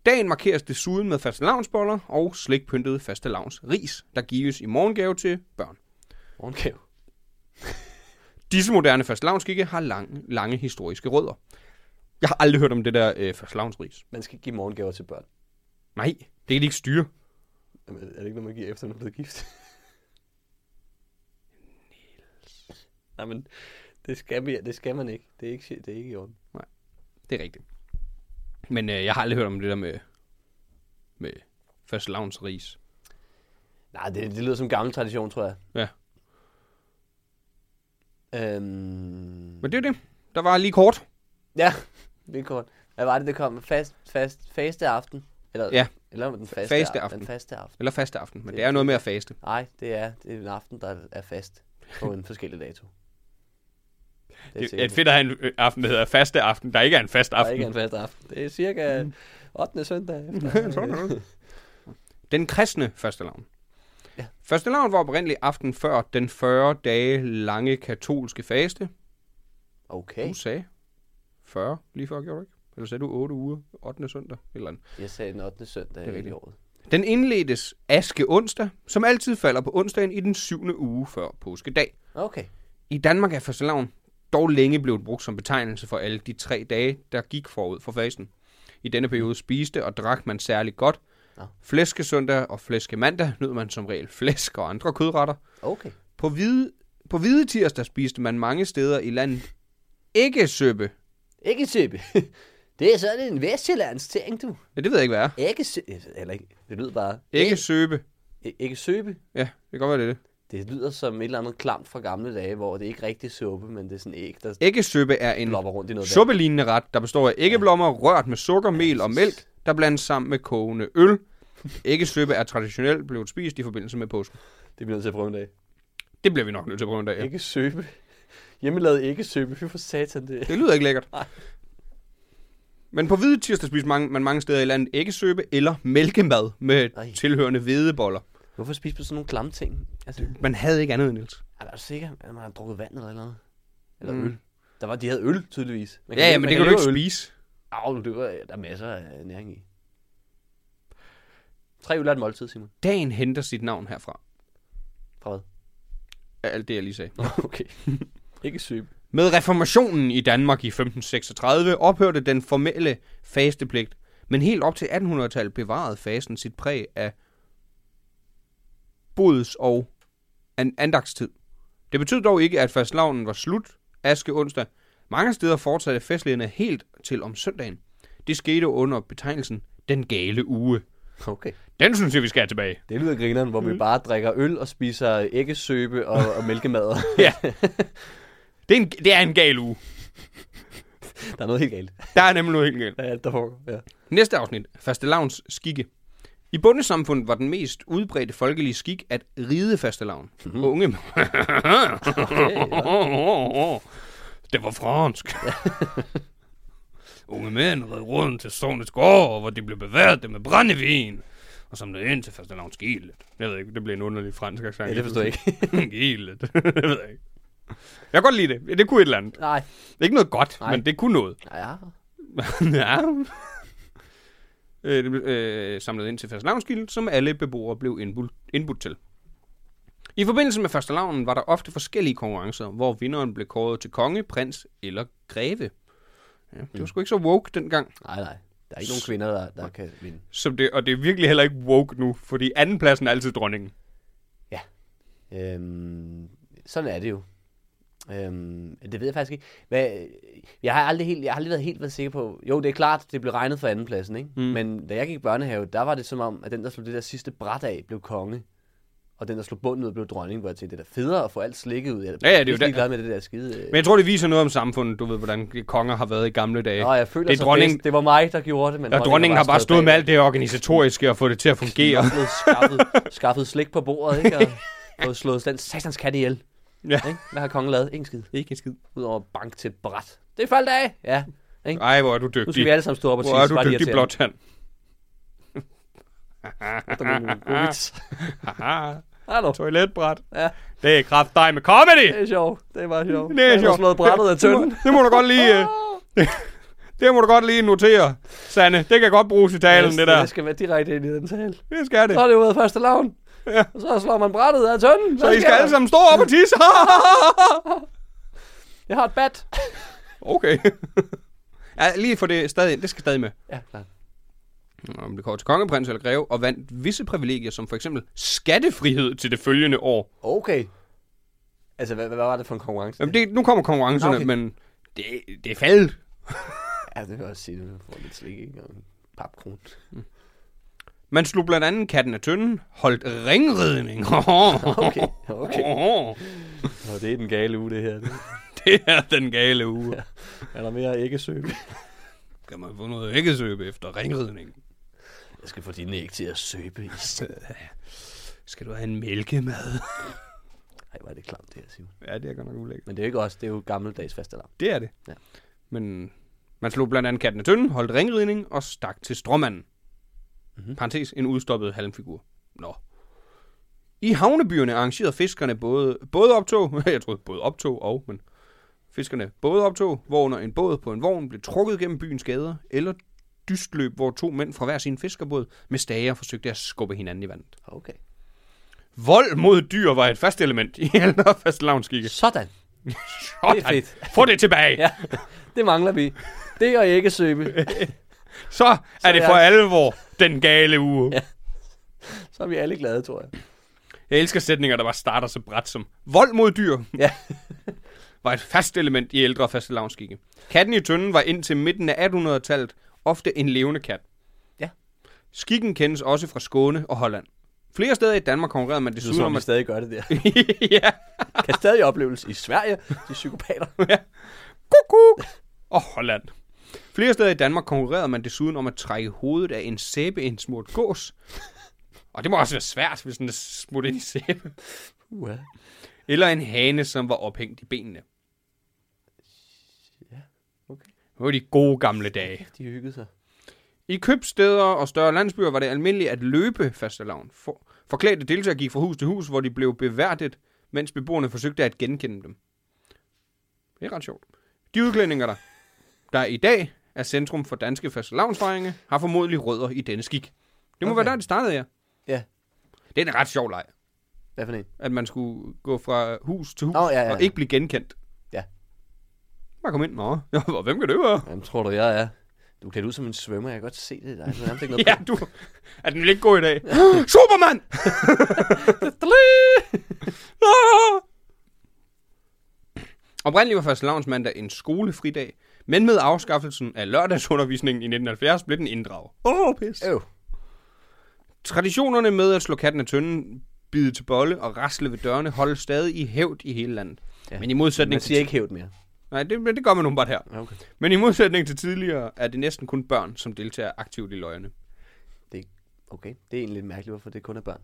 S4: Dagen markeres desuden med fastelavnsboller og slikpyntede fastelavns ris, der gives i morgengave til børn.
S3: Morgenkæv.
S4: Disse moderne fastelavnsskikke har lang, lange historiske rødder. Jeg har aldrig hørt om det der øh, fastelavnsris.
S3: Man skal ikke give morgengaver til børn.
S4: Nej, det kan de ikke styre.
S3: Jamen, er det ikke noget, man giver efter, man er blevet gift? Nej, men det skal, vi, det skal man ikke. Det er ikke, det er ikke i orden.
S4: Det er rigtigt. Men øh, jeg har aldrig hørt om det der med, med fastelavnsris.
S3: Nej, det, det lyder som gammel tradition, tror jeg.
S4: Ja.
S3: Øhm,
S4: Men det er jo det. Der var lige kort.
S3: ja, det er kort. Hvad var det, det kom? Fast, fast, faste aften? Eller,
S4: Ja.
S3: Eller den faste,
S4: faste
S3: af-
S4: aften.
S3: Den faste aften.
S4: Eller faste aften. Men
S3: Det-
S4: det er noget med at faste.
S3: Nej, det er, det er en aften, der er fast på en forskellig dato. er
S4: Det er
S3: sikkert.
S4: fedt at have en øh, aften, der hedder faste aften, der ikke er en fast aften. Mm.
S3: Der er ikke en fast aften. Det er cirka 8. søndag efter. øh,
S4: Den kristne fastelavn.
S3: Ja.
S4: Ja. Fastelavn var oprindeligt aften før den 40 dage lange katolske faste.
S3: Okay,
S4: Du sagde 40 lige før, gjorde du ikke? Eller sagde du 8 uger, 8. søndag? Et Eller andet.
S3: jeg sagde den 8. søndag
S4: Det er
S3: det i
S4: rigtigt.
S3: året.
S4: Den indledtes aske onsdag, som altid falder på onsdagen i den 7. uge før påskedag.
S3: Okay,
S4: I Danmark er fastelavn dog længe blevet brugt som betegnelse for alle de tre dage, der gik forud for fasten. I denne periode spiste og drak man særlig godt.
S3: Nå.
S4: Flæskesøndag og flæskemandag nød man som regel flæsk og andre kødretter.
S3: okay.
S4: På hvide, på hvide tirsdag spiste man mange steder i landet ikke søppe.
S3: Ikke søbe. det er sådan en vestjyllands ting, du.
S4: Ja, det ved jeg ikke, hvad er.
S3: Ikke søbe. Eller ikke. Det lyder bare.
S4: Ikke søppe.
S3: Ikke, ikke søbe.
S4: Ja, det kan godt være, det er det.
S3: Det lyder som et eller andet klamt fra gamle dage, hvor det ikke rigtig suppe, men det er sådan æg, der
S4: Ikke søppe er en
S3: lopper rundt i noget vand.
S4: suppelignende ret, der består af æggeblommer rørt med sukker, mel og mælk, der blandes sammen med kogende øl. Æggesøppe er traditionelt blevet spist i forbindelse med påsken.
S3: Det bliver nødt til at prøve en dag.
S4: Det bliver vi nok nødt til at prøve en dag. Ja.
S3: Ikke søbe. Hjemmelavet ikke søbe. Fy for satan det.
S4: Det lyder ikke lækkert.
S3: Nej.
S4: Men på hvide tirsdag spiser mange, man mange steder i landet æggesøbe eller mælkemad med
S3: Ej.
S4: tilhørende hvedeboller.
S3: Hvorfor spise på sådan nogle klamme ting? Altså,
S4: Man havde ikke andet end Niels.
S3: er du sikker? at man har drukket vand eller noget? Eller
S4: Mm.
S3: øl. Der var, de havde øl, tydeligvis. Man
S4: Ja, ja, men det kan du ikke spise.
S3: Au, det var, der er masser af næring i. Tre øl er et måltid, Simon.
S4: Dagen henter sit navn herfra.
S3: Fra hvad?
S4: Af Alt det, jeg lige sagde.
S3: Nå, okay. ikke syg.
S4: Med reformationen i Danmark i 1536 ophørte den formelle fastepligt, men helt op til 1800-tallet bevarede fasten sit præg af bods- og an- andagstid. Det betød dog ikke, at fastlavnen var slut aske onsdag. Mange steder fortsatte festlighederne helt til om søndagen. Det skete under betegnelsen den gale uge.
S3: Okay.
S4: Den synes jeg, vi skal have tilbage.
S3: Det lyder grineren, hvor vi
S4: Mm.
S3: bare drikker øl og spiser æggesøbe og, og mælkemad.
S4: Ja. Det er en, det er en gal uge.
S3: der er noget helt galt.
S4: Der er nemlig noget helt galt.
S3: Der er alt, der foregår. Ja.
S4: Næste afsnit, fastelavns skikke. I bundesamfundet var den mest udbredte folkelige skik at ride fastelavn. Mm-hmm. Unge. det var fransk. Unge mænd red rundt til sovnets gård, hvor de blev beværtet med brændevin. Og samlede ind til fastelavns gildet. Jeg ved ikke, det blev en underlig fransk accent.
S3: Ja, det forstår jeg
S4: ikke. gildet. det ved jeg ikke. Jeg kan godt lide det. Det kunne et eller andet.
S3: Nej.
S4: Ikke noget godt,
S3: Nej.
S4: Nej. men det kunne noget.
S3: Ja.
S4: ja. Øh, det blev, øh, samlet ind til fastelavnsgildet, som alle beboere blev indbudt, indbudt til. I forbindelse med fastelavnen var der ofte forskellige konkurrencer, hvor vinderen blev kåret til konge, prins eller greve. Ja, det var sgu ikke så woke dengang,
S3: Nej, nej. Der er ikke nogen kvinder, der, der kan vinde.
S4: som det, og det er virkelig heller ikke woke nu, fordi andenpladsen er altid dronningen.
S3: Øhm, sådan er det jo. Øhm, det ved jeg faktisk ikke. Hvad, jeg, har aldrig helt, jeg har aldrig været helt været sikker på... Jo, det er klart, det blev regnet for andenpladsen, ikke? Mm. Men da jeg gik i børnehave, der var det som om, at den, der slog det der sidste bræt af, blev konge. Og den, der slog bunden ud, blev dronning, hvor jeg tænkte, det er da federe at få alt slikket ud. Jeg
S4: Ja, ja, det er jo
S3: pisselig
S4: det.
S3: glad med det der skide... øh.
S4: Men jeg tror, det viser noget om samfundet, du ved, hvordan konger har været i gamle dage.
S3: Nå, jeg føler
S4: det er
S3: så
S4: dronningen,
S3: bedst. Det var mig, der gjorde det, men
S4: og dronningen har bare stået med alt det organisatoriske og fået det til at fungere.
S3: og skaffet, skaffet slik på bordet, ikke? Og, og slået den satans kat ihjel.
S4: Ja.
S3: Ikke? Hvad har kongen lavet? Ingen skid.
S4: Ikke en skid.
S3: Udover bank til et bræt. Det faldt af! Ja. Ikke?
S4: Ej, hvor er du
S3: Nu
S4: dygtig.
S3: skal vi alle sammen stå op og
S4: Hvor er
S3: tisse.
S4: du dygtig, blåtand. Ah, Haha,
S3: "Mm, Hallo.
S4: toiletbræt.
S3: Ja,
S4: Det er kraft dig med comedy.
S3: det er sjovt. Det var sjovt.
S4: Det er sjovt.
S3: slået brættet af
S4: Det- det må-
S3: tønden.
S4: Det må du godt lige... øh, Det må du godt lige notere, Sanne. Det kan godt bruges i talen, det der.
S3: Det skal være direkte ind i den tale.
S4: Det skal det.
S3: Så er det ude af første lavn.
S4: Ja.
S3: Og så slår man brættet af tønden.
S4: Så
S3: Hvad
S4: I
S3: sker
S4: skal
S3: der?
S4: alle sammen stå op og tisse.
S3: Jeg har et bat.
S4: Okay. Ja, lige for det stadig. Det skal stadig med.
S3: Ja, klart.
S4: Om det kommer til kongeprins eller greve, og vandt visse privilegier, som for eksempel skattefrihed til det følgende år.
S3: Okay. Altså, hvad, hvad var det for en konkurrence?
S4: Jamen, det, nu kommer konkurrencerne,
S3: Okay.
S4: okay. men det, det er faldet.
S3: Ja, det kan jeg også sige, at man får lidt slik, ikke? Og en papkron.
S4: Man slog blandt andet katten af tønden, holdt ringridning.
S3: Okay, okay. Nå, det er den gale uge, det her.
S4: Det er den gale uge.
S3: Er der mere æggesøb?
S4: Kan man få noget æggesøbe efter ringridning?
S3: Jeg skal få dine æg til at søbe i stedet.
S4: øh, Skal du have en mælkemad?
S3: Ej, hvor er det klamt, det her, Simon.
S4: Ja, det er godt nok ulækkert.
S3: Men det er jo ikke os, det er jo gammeldags fastelavn.
S4: Det er det.
S3: Ja.
S4: Men man slog blandt andet katten af tønden, holdt ringridning og stak til stråmanden.
S3: Mhm.
S4: Mm-hmm. Parentes, en udstoppet halmfigur. Nå. I havnebyerne arrangerede fiskerne både, både optog, jeg troede både optog og, men fiskerne både optog, hvorunder en båd på en vogn blev trukket gennem byens gader, eller dystløb, hvor to mænd fra hver sin fiskerbåd med stager forsøgte at skubbe hinanden i vandet.
S3: Okay.
S4: Vold mod dyr var et fast element i ældre fastelavnsskikke.
S3: Sådan.
S4: Sådan.
S3: fedt.
S4: Få det tilbage.
S3: Ja, det mangler vi. Det og æggesøbe.
S4: Så er Så det
S3: jeg-
S4: for alvor den gale uge. Ja.
S3: Så er vi alle glade, tror jeg.
S4: Jeg elsker sætninger, der bare starter så bredt som vold mod dyr
S3: Ja.
S4: var et fast element i ældre fastelavnsskikke. Katten i tønden var indtil midten af 1800-tallet ofte en levende kat.
S3: Ja.
S4: Skikken kendes også fra Skåne og Holland. Flere steder i Danmark konkurrerede man
S3: Det er
S4: desuden
S3: sådan,
S4: om
S3: man
S4: at...
S3: stadig gør det der.
S4: ja.
S3: Kan stadig oplevelses i Sverige, de psykopater.
S4: Kukuk! Og Holland. Flere steder i Danmark konkurrerede man desuden om at trække hovedet af en sæbeindsmurt gås. Og det må også være svært, hvis den er smurt ind i sæbe.
S3: Uha.
S4: Eller en hane, som var ophængt i benene.
S3: okay.
S4: Det var de gode gamle dage.
S3: De hyggede sig.
S4: I købsteder og større landsbyer var det almindeligt at løbe fastelavn. For, forklædte deltagere gik fra hus til hus, hvor de blev beværtet, mens beboerne forsøgte at genkende dem. Det er ret sjovt. De udklædninger, der, der i dag er centrum for danske fastelavnsfejringer, har formodentlig rødder i denne skik. Det må okay.
S3: Okay.
S4: være der, det startede, ja.
S3: Ja.
S4: Det er en ret sjov leg,
S3: Hvad for en?
S4: at man skulle gå fra hus til hus
S3: Nå, ja, ja,
S4: og
S3: ja.
S4: ikke blive genkendt.
S3: Ja.
S4: Bare kom ind, nå. Ja, hvem kan det være?
S3: Jamen, tror du, jeg er? Du er klædt ud som en svømmer, jeg kan godt se det i dig. Du er nærmest ikke noget
S4: Ja,
S3: på.
S4: du... Er den vil ikke god i dag? Superman! Ah! Oprindeligt var fastelavnsmandag en skolefridag, men med afskaffelsen af lørdagsundervisningen i 1970 blev den inddraget. Åh, oh, pis.
S3: Øv.
S4: Traditionerne med at slå katten af tønden, bide til bolle og rasle ved dørene holdes stadig i hævd i hele landet. Ja.
S3: Ja,
S4: Men i modsætning
S3: Man
S4: til-
S3: siger ikke hævet mere.
S4: Nej, det, men det gør man nu bare her.
S3: Ja, Okay.
S4: Men i modsætning til tidligere er det næsten kun børn, som deltager aktivt i løgene.
S3: Det, er- okay, det er egentlig lidt mærkeligt, hvorfor det kun er børn.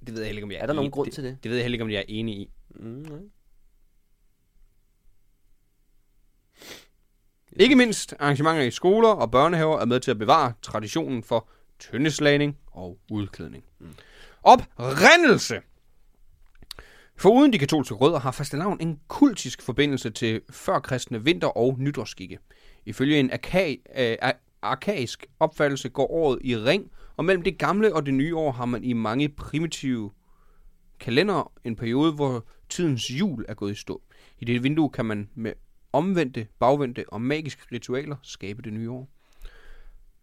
S4: Det ved jeg heller ikke, om jeg er
S3: Er der nogen
S4: en-
S3: grund
S4: det,
S3: til det?
S4: Det ved jeg heller ikke, om jeg er enig i.
S3: Mm, nej.
S4: Ikke mindst arrangementer i skoler og børnehaver er med til at bevare traditionen for tyndeslagning og udklædning. Oprindelse! Foruden de katolske rødder har fastelavn en kultisk forbindelse til førkristne vinter- og nytårsskikke. Ifølge en arka- øh, ar- arkaisk opfattelse går året i ring, og mellem det gamle og det nye år har man i mange primitive kalender en periode, hvor tidens jul er gået i stå. I det vindue kan man med omvendte, bagvendte og magiske ritualer skabe det nye år.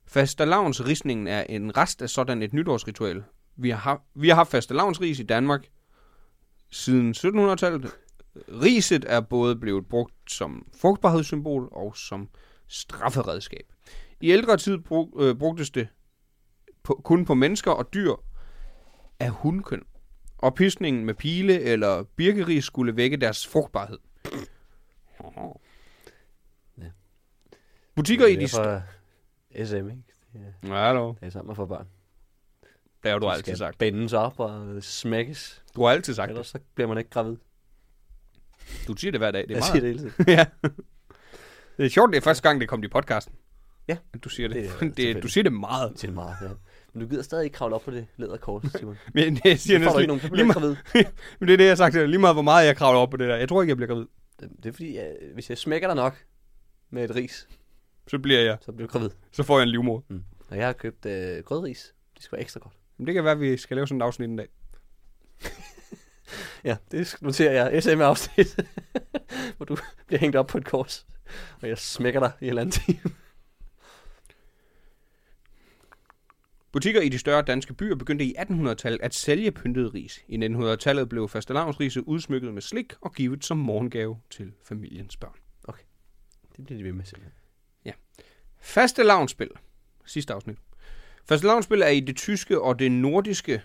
S4: Fastelavnsrisningen er en rest af sådan et nytårsritual. Vi har, haft- vi har haft fastelavnsris i Danmark siden 1700-tallet. Riset er både blevet brugt som frugtbarhedssymbol og som strafferedskab. I ældre tid brug, øh, brugtes det på, kun på mennesker og dyr af hundkøn og pisningen med pile eller birkeris skulle vække deres frugtbarhed.
S3: Ja.
S4: Butikker i de...
S3: fra SM, ikke? Ja,
S4: st- Ja, dog.
S3: det er sammen for børn.
S4: Det har du
S3: De
S4: altid
S3: skal
S4: sagt.
S3: bindes op og smækkes.
S4: Du har altid sagt det.
S3: Ellers så bliver man ikke gravid.
S4: Du siger det hver dag. Det er
S3: jeg siger
S4: meget.
S3: det hele tiden.
S4: ja. Det er sjovt, det er første gang, det kom i podcasten.
S3: Ja.
S4: At Du siger det.
S3: Det er
S4: det, det
S3: tilfældigt.
S4: du siger det meget.
S3: Til meget, ja. Men du gider stadig ikke kravle op på det læderkors, Simon. Så
S4: Men jeg siger
S3: får du
S4: næsten
S3: ikke nogen,
S4: lige,
S3: så bliver
S4: lige,
S3: du ikke
S4: meget,
S3: gravid.
S4: men det er det, jeg har sagt. til dig. Lige meget, hvor meget jeg kravler op på det der. Jeg tror ikke, jeg bliver gravid.
S3: Det er fordi, jeg, hvis jeg smækker dig nok med et ris,
S4: Så bliver jeg.
S3: så bliver du gravid.
S4: Så får jeg en livmor.
S3: Og jeg har købt øh, grødris. Det skal være ekstra godt.
S4: Men det kan være, at vi skal lave sådan et afsnit en dag.
S3: Ja, det sk- noterer jeg. SM-afsnit, hvor du bliver hængt op på et kors, og jeg smækker dig i en eller anden time.
S4: Butikker i de større danske byer begyndte i 1800-tallet at sælge pyntet ris. I 1900-tallet blev fastelavnsriset udsmykket med slik og givet som morgengave til familiens børn.
S3: Det bliver de ved med, simpelthen.
S4: Faste lavnsspil. Sidste afsnit. Faste lavnsspil er i det tyske og det nordiske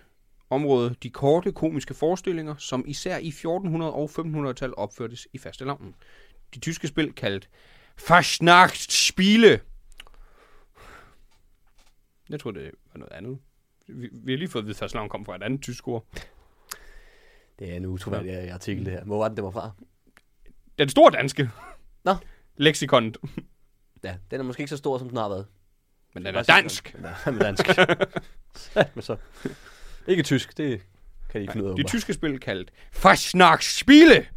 S4: område de korte komiske forestillinger, som især i 1400- og 1500-tallet opførtes i faste lavnen. De tyske spil kaldt Fastnachtsspiele. Jeg tror, det var noget andet. Vi, vi har lige fået at vide, at fastelavn kom fra et andet tysk ord.
S3: Det er en utroværdig artikel, det her. Hvor var den, det var fra?
S4: Den store danske.
S3: Nå.
S4: Lexikon.
S3: Ja, den er måske ikke så stor, som den har været.
S4: Men den er dansk.
S3: Den er dansk. Men så. Ikke tysk, det kan de ikke finde ud af.
S4: Det
S3: åbenbart.
S4: tyske spil kaldt Fastnachtsspiele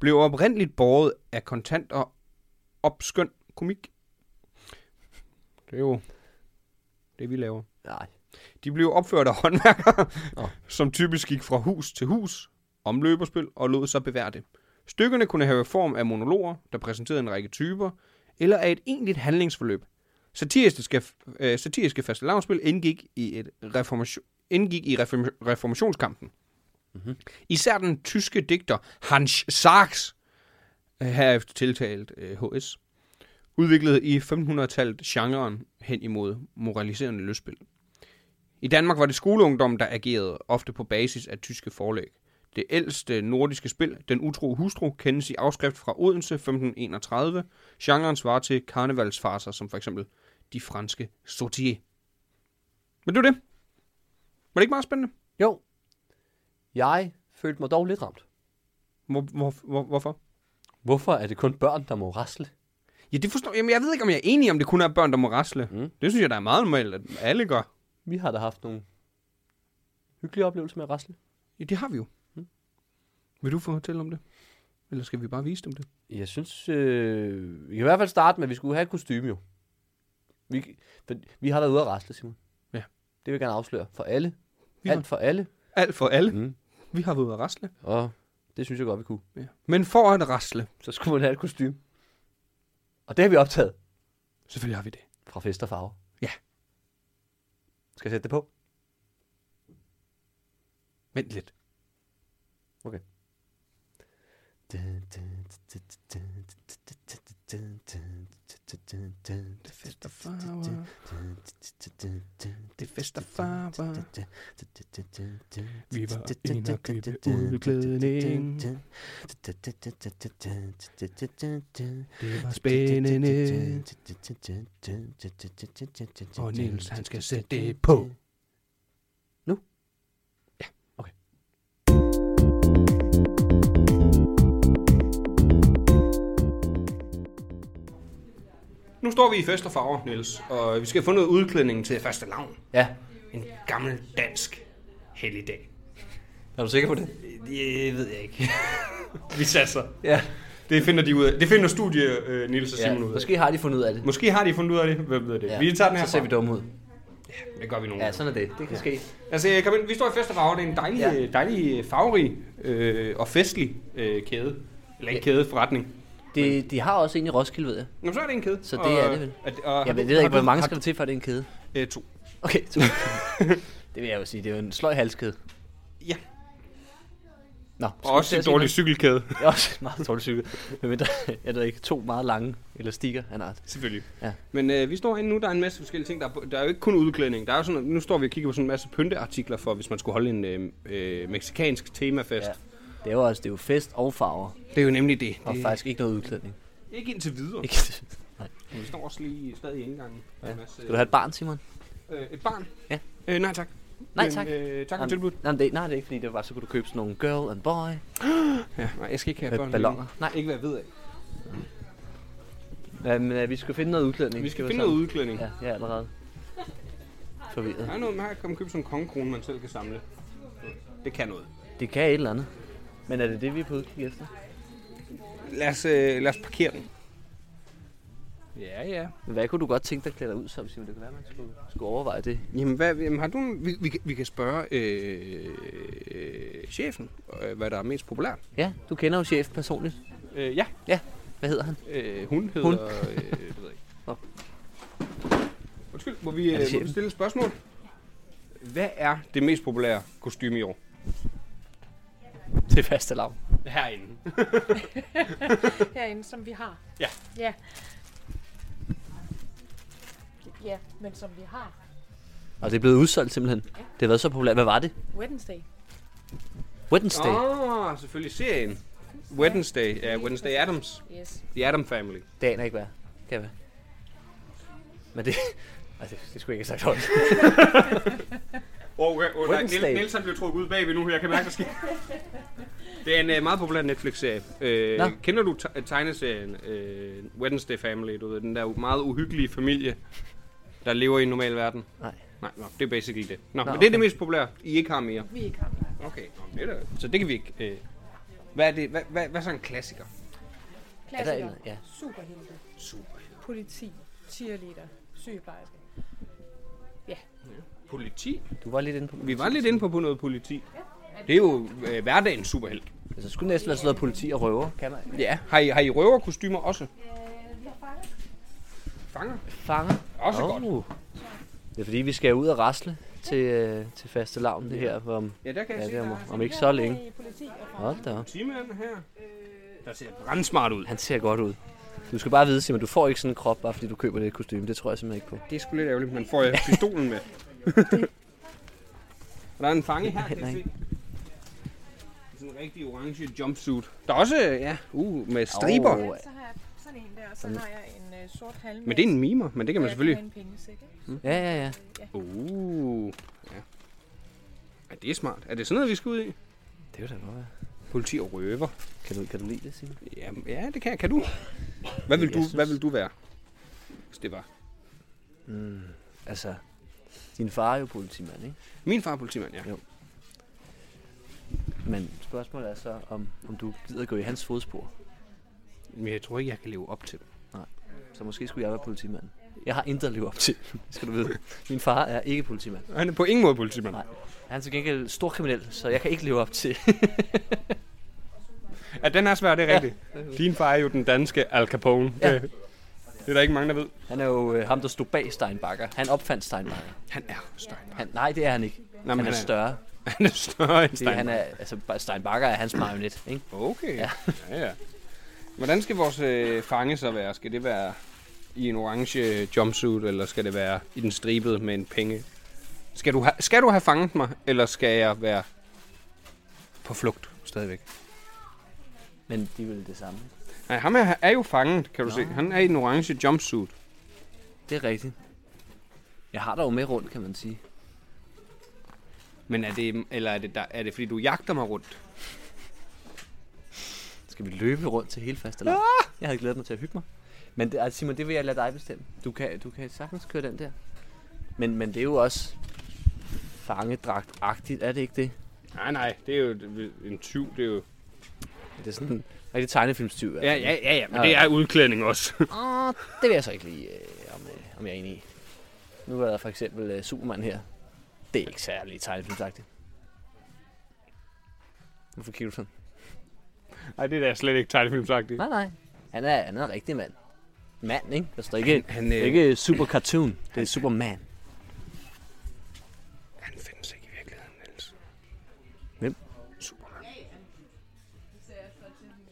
S4: blev oprindeligt båret af kontant og opskøn komik. Det er jo det, vi laver.
S3: Nej.
S4: De blev opført af håndværkere,
S3: Nå.
S4: som typisk gik fra hus til hus om løberspil og lod sig bevære det. Stykkerne kunne have form af monologer, der præsenterede en række typer, eller af et egentligt handlingsforløb. Satiriske, øh, satiriske fastelavnsspil indgik i, et reformation, indgik i reform, reformationskampen. Især den tyske digter Hans Sachs, øh, herefter tiltalt øh, H.S., udviklede i 1500-tallet genren hen imod moraliserende løsspil. I Danmark var det skoleungdom, der agerede, ofte på basis af tyske forlæg. Det ældste nordiske spil, Den Utro Hustru, kendes i afskrift fra Odense 1531. Genren svarer til karnevalsfarser, som for eksempel de franske sautier. Men det var det. Var det ikke meget spændende?
S3: Jo. Jeg følte mig dog lidt ramt.
S4: Hvor, hvor, hvor, hvorfor?
S3: Hvorfor er det kun børn, der må rasle?
S4: Ja, det forstår Jamen, jeg ved ikke, om jeg er enig om, det kun er børn, der må rasle. Mm. Det synes jeg, der er meget normalt, at alle gør.
S3: Vi har da haft nogle hyggelige oplevelser med at rasle.
S4: Ja, det har vi jo. Mm. Vil du fortælle om det? Eller skal vi bare vise dem det?
S3: Jeg synes, øh, vi kan i hvert fald starte med, at vi skulle have et kostyme jo. Vi, for, vi har været ude at rasle, Simon.
S4: Ja.
S3: Det vil jeg gerne afsløre. For alle.
S4: Vi har-
S3: Alt for alle.
S4: Alt for alle.
S3: Mm.
S4: Mm. Vi har været ude at rasle.
S3: Og det synes jeg godt, vi kunne.
S4: Ja. Men for at rasle,
S3: Så skulle man have et kostume. Og det har vi optaget
S4: selvfølgelig har vi det.
S3: fra Fest og Farver.
S4: Ja.
S3: Skal jeg sætte det på?
S4: Vent lidt. Det er fest og farver. Det er fest og farver. Vi var inde og købe udklædning. Det var spændende. Og Niels, han skal sætte det på. Nu står vi i fest og farver, Niels, og vi skal have fundet udklædningen til faste lavn.
S3: Ja,
S4: En gammel dansk helligdag.
S3: er du sikker på det?
S4: Det ved jeg ikke. vi satser.
S3: Ja.
S4: Det finder de ud af. Det finder studie øh, Niels og Simon
S3: ja
S4: ud af.
S3: måske har de fundet ud af det.
S4: Måske har de fundet ud af det. Hvem ved det?
S3: Ja.
S4: Vi tager den her
S3: Så ser vi dumme ud.
S4: Det gør vi nogen.
S3: Ja, sådan er det. Det kan ske.
S4: Altså, øh, kom ind. vi står i fest og farver. Det er en dejlig,
S3: Ja.
S4: ja. dejlig øh, farverig øh, og festlig øh, kæde. Eller ikke kæde, forretning.
S3: Det, de har også en i Roskilde, ved jeg.
S4: Nå, så er det en kæde.
S3: Så det er det vel.
S4: At, og,
S3: Jeg ved, jeg ved ikke, hvor mange skal der til, før det er en kæde.
S4: Øh, to.
S3: Okay, så. det vil jeg jo sige. Det er jo en sløj halskæde.
S4: Ja.
S3: Nå,
S4: Og
S3: skulle vi
S4: også
S3: til
S4: en
S3: at sige
S4: dårlig
S3: noget?
S4: cykelkæde.
S3: Det er også en meget dårlig cykel. Men mindre, jeg ved ikke, to meget lange elastikker af en art.
S4: Selvfølgelig.
S3: Ja.
S4: Men øh, vi står herinde nu, der er en masse forskellige ting. Der er, bo- der er jo ikke kun udklædning. Der er jo sådan, nu står vi og kigger på sådan en masse pynteartikler for, hvis man skulle holde en øh, øh, meksikansk temafest.
S3: Ja.
S4: Ja.
S3: Det er jo også det er jo fest og farver,
S4: Det er jo nemlig det.
S3: og
S4: det
S3: faktisk ikke noget udklædning.
S4: Ikke indtil videre.
S3: Ikke?
S4: Vi står også lige stadig i indgangen. Ja. En masse,
S3: Skal du have et barn, Simon?
S4: øh, et barn?
S3: Ja.
S4: Øh, nej tak.
S3: Nej,
S4: Men,
S3: tak.
S4: Øh, tak for
S3: Jamen,
S4: tilbuddet.
S3: Nej, men det, nej, det er ikke, fordi det var, så kunne du købe sådan nogle girl and boy
S4: Ja, nej, jeg skal ikke have
S3: med
S4: børn.
S3: balloner. Nej,
S4: Ikke hvad jeg ved af.
S3: ja, men øh, vi skal finde noget udklædning.
S4: Vi skal
S3: Det var
S4: finde noget
S3: sådan.
S4: udklædning. Ja.
S3: Ja, jeg er allerede forvirret.
S4: Der er noget med her, kan man købe sådan en kongekrone, man selv kan samle. Det kan noget.
S3: Det kan et eller andet. Men er det det, vi er på udkig efter?
S4: Lad os, øh, lad os parkere den. Ja, ja.
S3: Men hvad kunne du godt tænke dig at klæde dig ud som, Simon? Det kunne være, man skulle, skulle overveje det.
S4: Jamen, hvad, jamen har du, en- vi, vi, kan- vi kan spørge øh, chefen, øh, hvad der er mest populært.
S3: Ja, du kender jo chef personligt.
S4: Øh, ja,
S3: Hvad hedder han?
S4: øh, hun hedder...
S3: Hun.
S4: Øh, det ved jeg ikke.
S3: Nå.
S4: Undskyld, må vi,
S3: det
S4: øh, må
S3: chefen?
S4: vi stille et spørgsmål? Hvad er det mest populære kostume i år?
S3: Det er faste lav.
S4: Herinde.
S6: herinde, som vi har.
S4: Ja.
S6: Ja. Ja, men som vi har.
S3: Og det er blevet udsolgt simpelthen. Det har været så populært. Hvad var det?
S6: Wednesday.
S3: Wednesday. Oh.
S4: Åh, oh, selvfølgelig serien. Wednesday. Ja, Wednesday Adams.
S6: Yes.
S4: The Adam Family.
S3: Det aner jeg ikke, hvad kan være. Men det... Ej, det, det skulle jeg ikke have sagt højt.
S4: Okay, oh, nej,
S3: Wednesday.
S4: Niel- Nielsen blev trukket ud bagved nu, jeg kan mærke, der sker. Det er en uh, meget populær Netflix-serie.
S3: Nå.
S4: Uh, kender du te- tegneserien uh, Wednesday Family? Du ved, den der meget uhyggelige familie, der lever i en normal verden.
S3: Nej.
S4: Nej, nå, det er basically det. Nå, nå men det
S3: okay.
S4: er det mest populære. I ikke har mere.
S6: Vi ikke har mere.
S4: Okay, nå, men det er da, så det kan vi ikke. Uh, hvad er det? Hvad, hvad, hvad er så en klassiker?
S6: Klassikere.
S3: en- ja.
S6: Superhelte.
S4: Super.
S6: Politi. Cheerleader. Sygeplejerske.
S4: Politi?
S3: Du var lidt inde på...
S4: Vi var lidt inde på noget politi. Det er jo øh, hverdagens superhelt.
S3: Altså, skulle næsten være sådan noget politi og røver. Kan man?
S4: Ja, har I, har I røverkostymer også? Fanger?
S3: Fanger.
S4: Også oh. godt.
S3: Det er fordi, vi skal ud og rasle til, øh, til faste lavn det her. Om,
S4: Ja, der kan jeg
S3: ja,
S4: ja,
S3: det
S4: sige,
S3: er om,
S4: der
S3: om ikke så længe.
S6: I politi og fra.
S3: Hold da op.
S4: er timeren her. Der ser brandsmart ud.
S3: Han ser godt ud. Du skal bare vide, Simon, du får ikke sådan en krop, bare fordi du køber det kostume. Det tror jeg simpelthen ikke på.
S4: Det er sgu lidt ærgerligt, men får jeg pistolen med? Og der er en fange her, kan jeg
S3: Nej.
S4: se. Sådan en rigtig orange jumpsuit. Der er også, ja, uh, med striber.
S3: Åh,
S4: Oh.
S6: Så har jeg sådan en der, og så har jeg en øh, sort halm.
S4: Men det er en mimer, men det kan man selvfølgelig...
S6: en pengesæk, ikke?
S3: Ja, ja, ja.
S4: Uh, ja. ja. det er smart. Er det sådan noget, vi skal ud i?
S3: Det er jo da godt. være.
S4: Politi og røver.
S3: Kan du, kan du lide det, Signe?
S4: Jamen, ja, det kan jeg. Kan du? Hvad vil
S3: Jeg
S4: du,
S3: synes-
S4: hvad vil du være? Hvis det var.
S3: Altså, din far er jo politimand, ikke?
S4: Min far er politimand, ja.
S3: Jo. Men spørgsmålet er så, om, om du gider gå i hans fodspor.
S4: Men jeg tror ikke, jeg kan leve op til det.
S3: Så måske skulle jeg være politimand. Jeg har intet at leve op til, skal du vide. Min far er ikke politimand.
S4: Han er på ingen måde politimand.
S3: Nej. Han er til gengæld stor kriminel, så jeg kan ikke leve op til.
S4: Ja, den er svær, det er rigtigt. Din far er jo den danske Al Capone.
S3: Ja.
S4: Det, det er der ikke mange, der ved.
S3: Han er jo øh, ham, der stod bag Steinbacher. Han opfandt Steinbacher.
S4: Han er Steinbacher.
S3: Han, nej, det er han ikke.
S4: men
S3: han,
S4: han
S3: er
S4: er-
S3: større.
S4: Han er større end
S3: Det, er- han
S4: Steinbacher.
S3: er, altså, ba- Steinbacher er hans marionet, ikke?
S4: Okay. Ja. ja, ja. Hvordan skal vores øh, fange så være? Skal det være i en orange jumpsuit, eller skal det være i den stribede med en penge? Skal du, ha- skal du have fanget mig, eller skal jeg være på flugt stadigvæk?
S3: Men de vil det samme.
S4: Nej, ham er, er jo fanget, kan du Nå. se. Han er i en orange jumpsuit.
S3: Det er rigtigt. Jeg har dig jo med rundt, kan man sige.
S4: Men er det, eller er det, der, er det fordi, du jagter mig rundt?
S3: Skal vi løbe rundt til hele faste ah! Jeg havde glædet mig til at hygge mig. Men det, altså Simon, det vil jeg lade dig bestemme. Du kan, du kan sagtens køre den der. Men, men det er jo også fangedragtagtigt, er det ikke det?
S4: Nej, nej, det er jo et- en tyv, det er jo...
S3: Det er sådan en rigtig tegnefilmstyv.
S4: Ja,
S3: altså.
S4: ja, ja, ja men
S3: Ja,
S4: det
S3: ja.
S4: er udklædning også.
S3: Åh, det vil jeg så ikke lige, øh, om, øh, om jeg er enig i. Nu er der for eksempel øh, Superman her. Det er ikke særlig tegnefilmsagtigt. Hvorfor kigger du sådan?
S4: Nej, det er da slet ikke tegnefilmsagtigt.
S3: Nej, nej. Han er, han er en rigtig mand. Mand, ikke? Altså, Der står ikke,
S4: Han, øh,
S3: ikke super cartoon. Det er Superman.
S4: han findes ikke i virkeligheden, Niels.
S3: Hvem?
S4: Superman.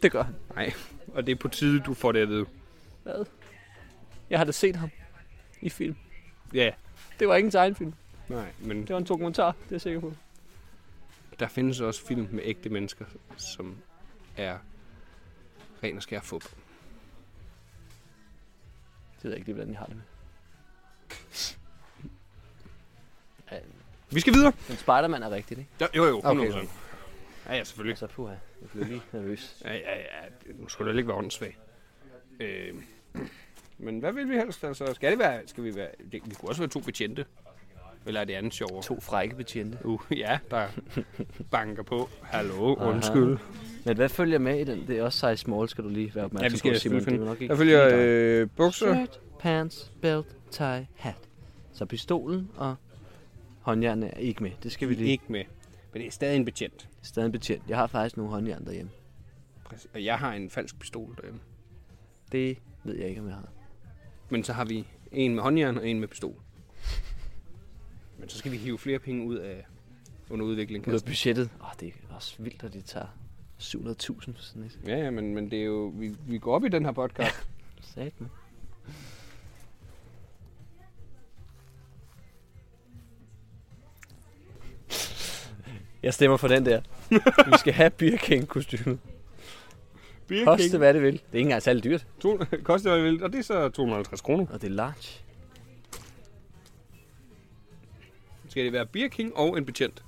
S3: Det gør han.
S4: Nej, og det er på tide, du får det at vide.
S3: Hvad? Jeg har da set ham i film.
S4: Ja,
S3: Det var ikke en tegnefilm.
S4: nej, men
S3: Det var en dokumentar, det er jeg sikker på.
S4: der findes også film med ægte mennesker, som er ren og skær fup.
S3: Det ved jeg ikke lige, hvordan jeg har det med. Ja,
S4: Vi skal videre.
S3: Men Spider-Man er rigtigt, ikke?
S4: Jo, jo, jo
S3: Okay.
S4: 100%. Ja, ja, selvfølgelig.
S3: Altså, puha. Jeg blev lige nervøs.
S4: Ja, ja, ja. Nu skulle det ikke være åndssvag. Øh, men hvad vil vi helst? Altså, skal det være... Skal vi være... Det, vi kunne også være to betjente. Eller er det andet sjovere?
S3: To frække betjente.
S4: Uh, ja, der banker på. Hallo, undskyld.
S3: Men hvad følger med i den? Det er også size small, skal du lige være opmærksom
S4: Ja, vi skal
S3: på, Simon.
S4: selvfølgelig
S3: Det er
S4: finde.
S3: nok ikke
S4: Jeg følger
S3: lige dig.
S4: øh, bukser.
S3: Shirt, pants, belt, tie, hat. Så pistolen og håndjern er ikke med. Det skal vi lige.
S4: Ikke med. Men det er stadig en betjent.
S3: Stadig en betjent. Jeg har faktisk nogle håndjern derhjemme.
S4: Præcis. Og jeg har en falsk pistol derhjemme.
S3: Det ved jeg ikke, om jeg har.
S4: Men så har vi en med håndjern og en med pistol. Men så skal vi hive flere penge ud af under udvikling.
S3: Ud af budgettet. Åh, det er også vildt, at de tager 700.000 for sådan et.
S4: Ja, ja, men, men det er jo... Vi, vi går op i den her podcast.
S3: Sat med. Jeg stemmer for den der. Vi skal have Beer King kostymet. Koste hvad det vil. Det er ikke engang særlig dyrt.
S4: To, koster hvad det vil, og det er så 250 kroner.
S3: Og det er large.
S4: Skal det være Beer King og en betjent?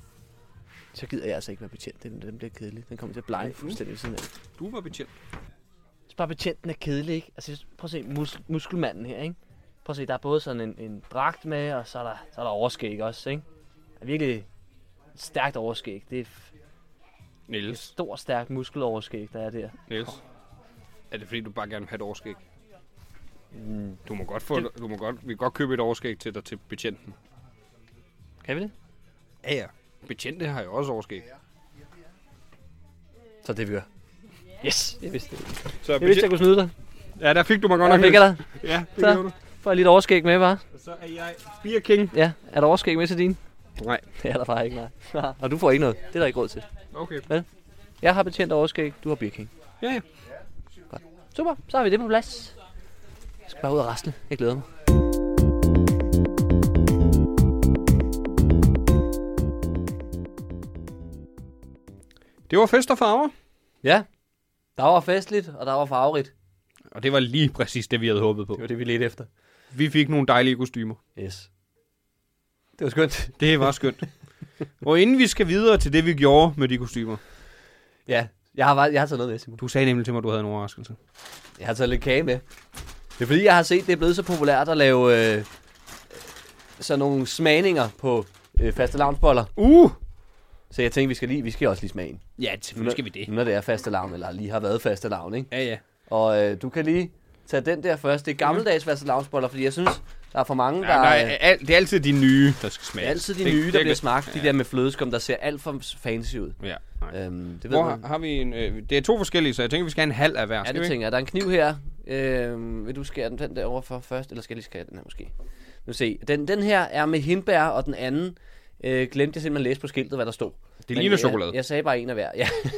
S3: Så gider jeg altså ikke være betjent. Den, den bliver kedelig. Den kommer til at blege fuldstændig ved siden af. Jeg
S4: Du var betjent.
S3: synes bare, betjenten er kedelig, ikke? Altså, prøv at se mus- muskelmanden her, ikke? Prøv at se, der er både sådan en, en dragt med, og så er der, så er der overskæg også, ikke? Der er virkelig et stærkt overskæg. Det er f- et
S4: Niels.
S3: stort, stærkt muskeloverskæg, der er der.
S4: Niels. Er det fordi, du bare gerne vil have et overskæg? Mm. Du må godt få det... du må godt, vi kan godt købe et overskæg til dig til betjenten.
S3: Kan vi det?
S4: Ja, ja. Betjente har jo også overskæg.
S3: Så det vi gør. Yes, jeg vidste det.
S4: Så
S3: Jeg vidste, jeg
S4: betjent,
S3: kunne snyde dig.
S4: ja, der fik du mig godt
S3: Jeg
S4: nok.
S3: fik
S4: Niels.
S3: dig.
S4: Ja, det
S3: Så.
S4: gjorde du.
S3: Får jeg lidt overskæg med, bare.
S4: Så er jeg Beer King.
S3: Ja, er der overskæg med til din?
S4: Nej.
S3: Det er der bare ikke, nej. og du får ikke noget. Det er der ikke råd til.
S4: Okay.
S3: Jeg har betjent overskæg, du har birking.
S4: Ja, ja.
S3: Super, så har vi det på plads. Jeg skal bare ud og rasle. Jeg glæder mig.
S4: Det var fest og farver.
S3: Ja, der var festligt, og der var farverigt.
S4: Og det var lige præcis det, vi havde håbet på.
S3: var det, vi ledte efter.
S4: Vi fik nogle dejlige kostymer.
S3: Yes. Det var skønt.
S4: Det var skønt. og inden vi skal videre til det, vi gjorde med de kostymer,
S3: Ja, Jeg har, bare- jeg har taget noget med, Simon.
S4: Du sagde nemlig til mig, at du havde en overraskelse.
S3: Jeg har taget lidt kage med. Det er fordi, jeg har set, det er blevet så populært at lave øh, sådan nogle smagninger på øh, faste lavnsboller.
S4: Uh!
S3: Så jeg tænkte, vi skal, lige, vi skal også lige smage en.
S4: Ja, selvfølgelig skal vi det.
S3: Nu når det er faste lavn, eller lige har været faste lavn, ikke?
S4: Ja, ja.
S3: Og øh, du kan lige tage den der først. Det er gammeldags faste lavnsboller, fordi jeg synes, der er for mange,
S4: ja
S3: der...
S4: der
S3: øh,
S4: er, al, det er altid de nye, der skal
S3: det
S4: smage.
S3: er altid de
S4: øh, Det-
S3: nye,
S4: det
S3: der
S4: er
S3: bliver
S4: godt.
S3: smagt. De der med flødeskum, der ser alt for fancy ud.
S4: Ja, nej.
S3: Øhm, det ved
S4: Hvor
S3: man.
S4: har, har vi en... Øh, det er to forskellige, så jeg tænker, vi skal have en halv af hver.
S3: Ja,
S4: Skal
S3: det
S4: vi?
S3: tænker jeg. Der er en kniv her. Øh, vil du skære den, den der overfor først? Eller skal jeg lige skære den her måske? Nu se. Den, den her er med hindbær, og den anden øh, glemte jeg simpelthen at læse på skiltet, hvad der stod.
S4: Det ligner
S3: jeg,
S4: chokolade.
S3: Jeg, jeg sagde bare en af hver. Ja.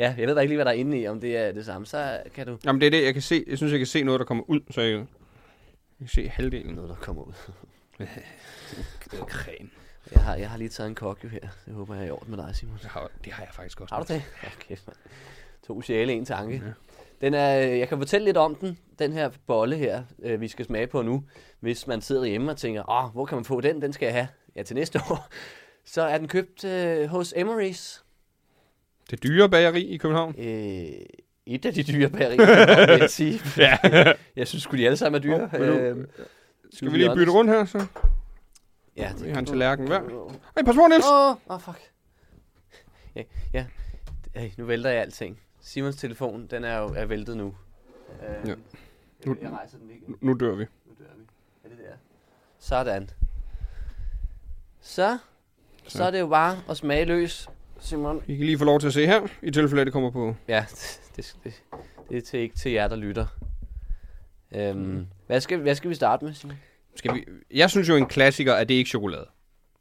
S3: ja, jeg ved da ikke lige, hvad der er inde i, om det er det samme. Så kan du...
S4: Jamen, det er det, jeg kan se. Jeg synes, jeg kan se noget, der kommer ud, så jeg, jeg kan se halvdelen.
S3: Noget, der kommer ud.
S4: Creme.
S3: Jeg har, jeg har lige taget en kokjo her. Det håber jeg er i orden med dig, Simon.
S4: Det har, det har jeg faktisk også.
S3: Har du det? Ja, kæft, mand. To sjæle, en tanke. Ja. Den er, øh, jeg kan fortælle lidt om den, den her bolle her, øh, vi skal smage på nu. Hvis man sidder hjemme og tænker, Åh, hvor kan man få den? Den skal jeg have ja, til næste år. Så er den købt øh, hos Emery's.
S4: Det dyre bageri i København.
S3: Øh, et af de dyre bagerier, vil jeg sige.
S4: Ja.
S3: Jeg synes sgu, de alle sammen er dyre.
S4: Åh, vil du-
S3: Øh, to
S4: Skal
S3: be
S4: vi lige
S3: honest.
S4: bytte rundt her, så?
S3: Ja, det
S4: Vi har
S3: kan
S4: en
S3: du-
S4: tallerken hver.
S3: kan du-
S4: Hey, pas på, Niels!
S3: Åh, oh, oh, fuck. Ja, ja. Hey, nu vælter jeg alting. Simons telefon, den er jo er væltet nu. Uh,
S4: Ja.
S3: ja.
S4: Nu-
S3: Jeg, jeg rejser den ikke.
S4: Nu dør vi.
S3: Nu dør vi. Er det der? Sådan. Så, så er det jo bare at smage løs, Simon.
S4: I kan lige få lov til at se her, i tilfælde, at det kommer på...
S3: Ja, det, det, det er til, ikke til jer, der lytter.
S4: Mm.
S3: Øhm, hvad, skal, hvad skal vi starte med, Simon?
S4: Skal vi... Jeg synes jo, en klassiker er det ikke chokolade.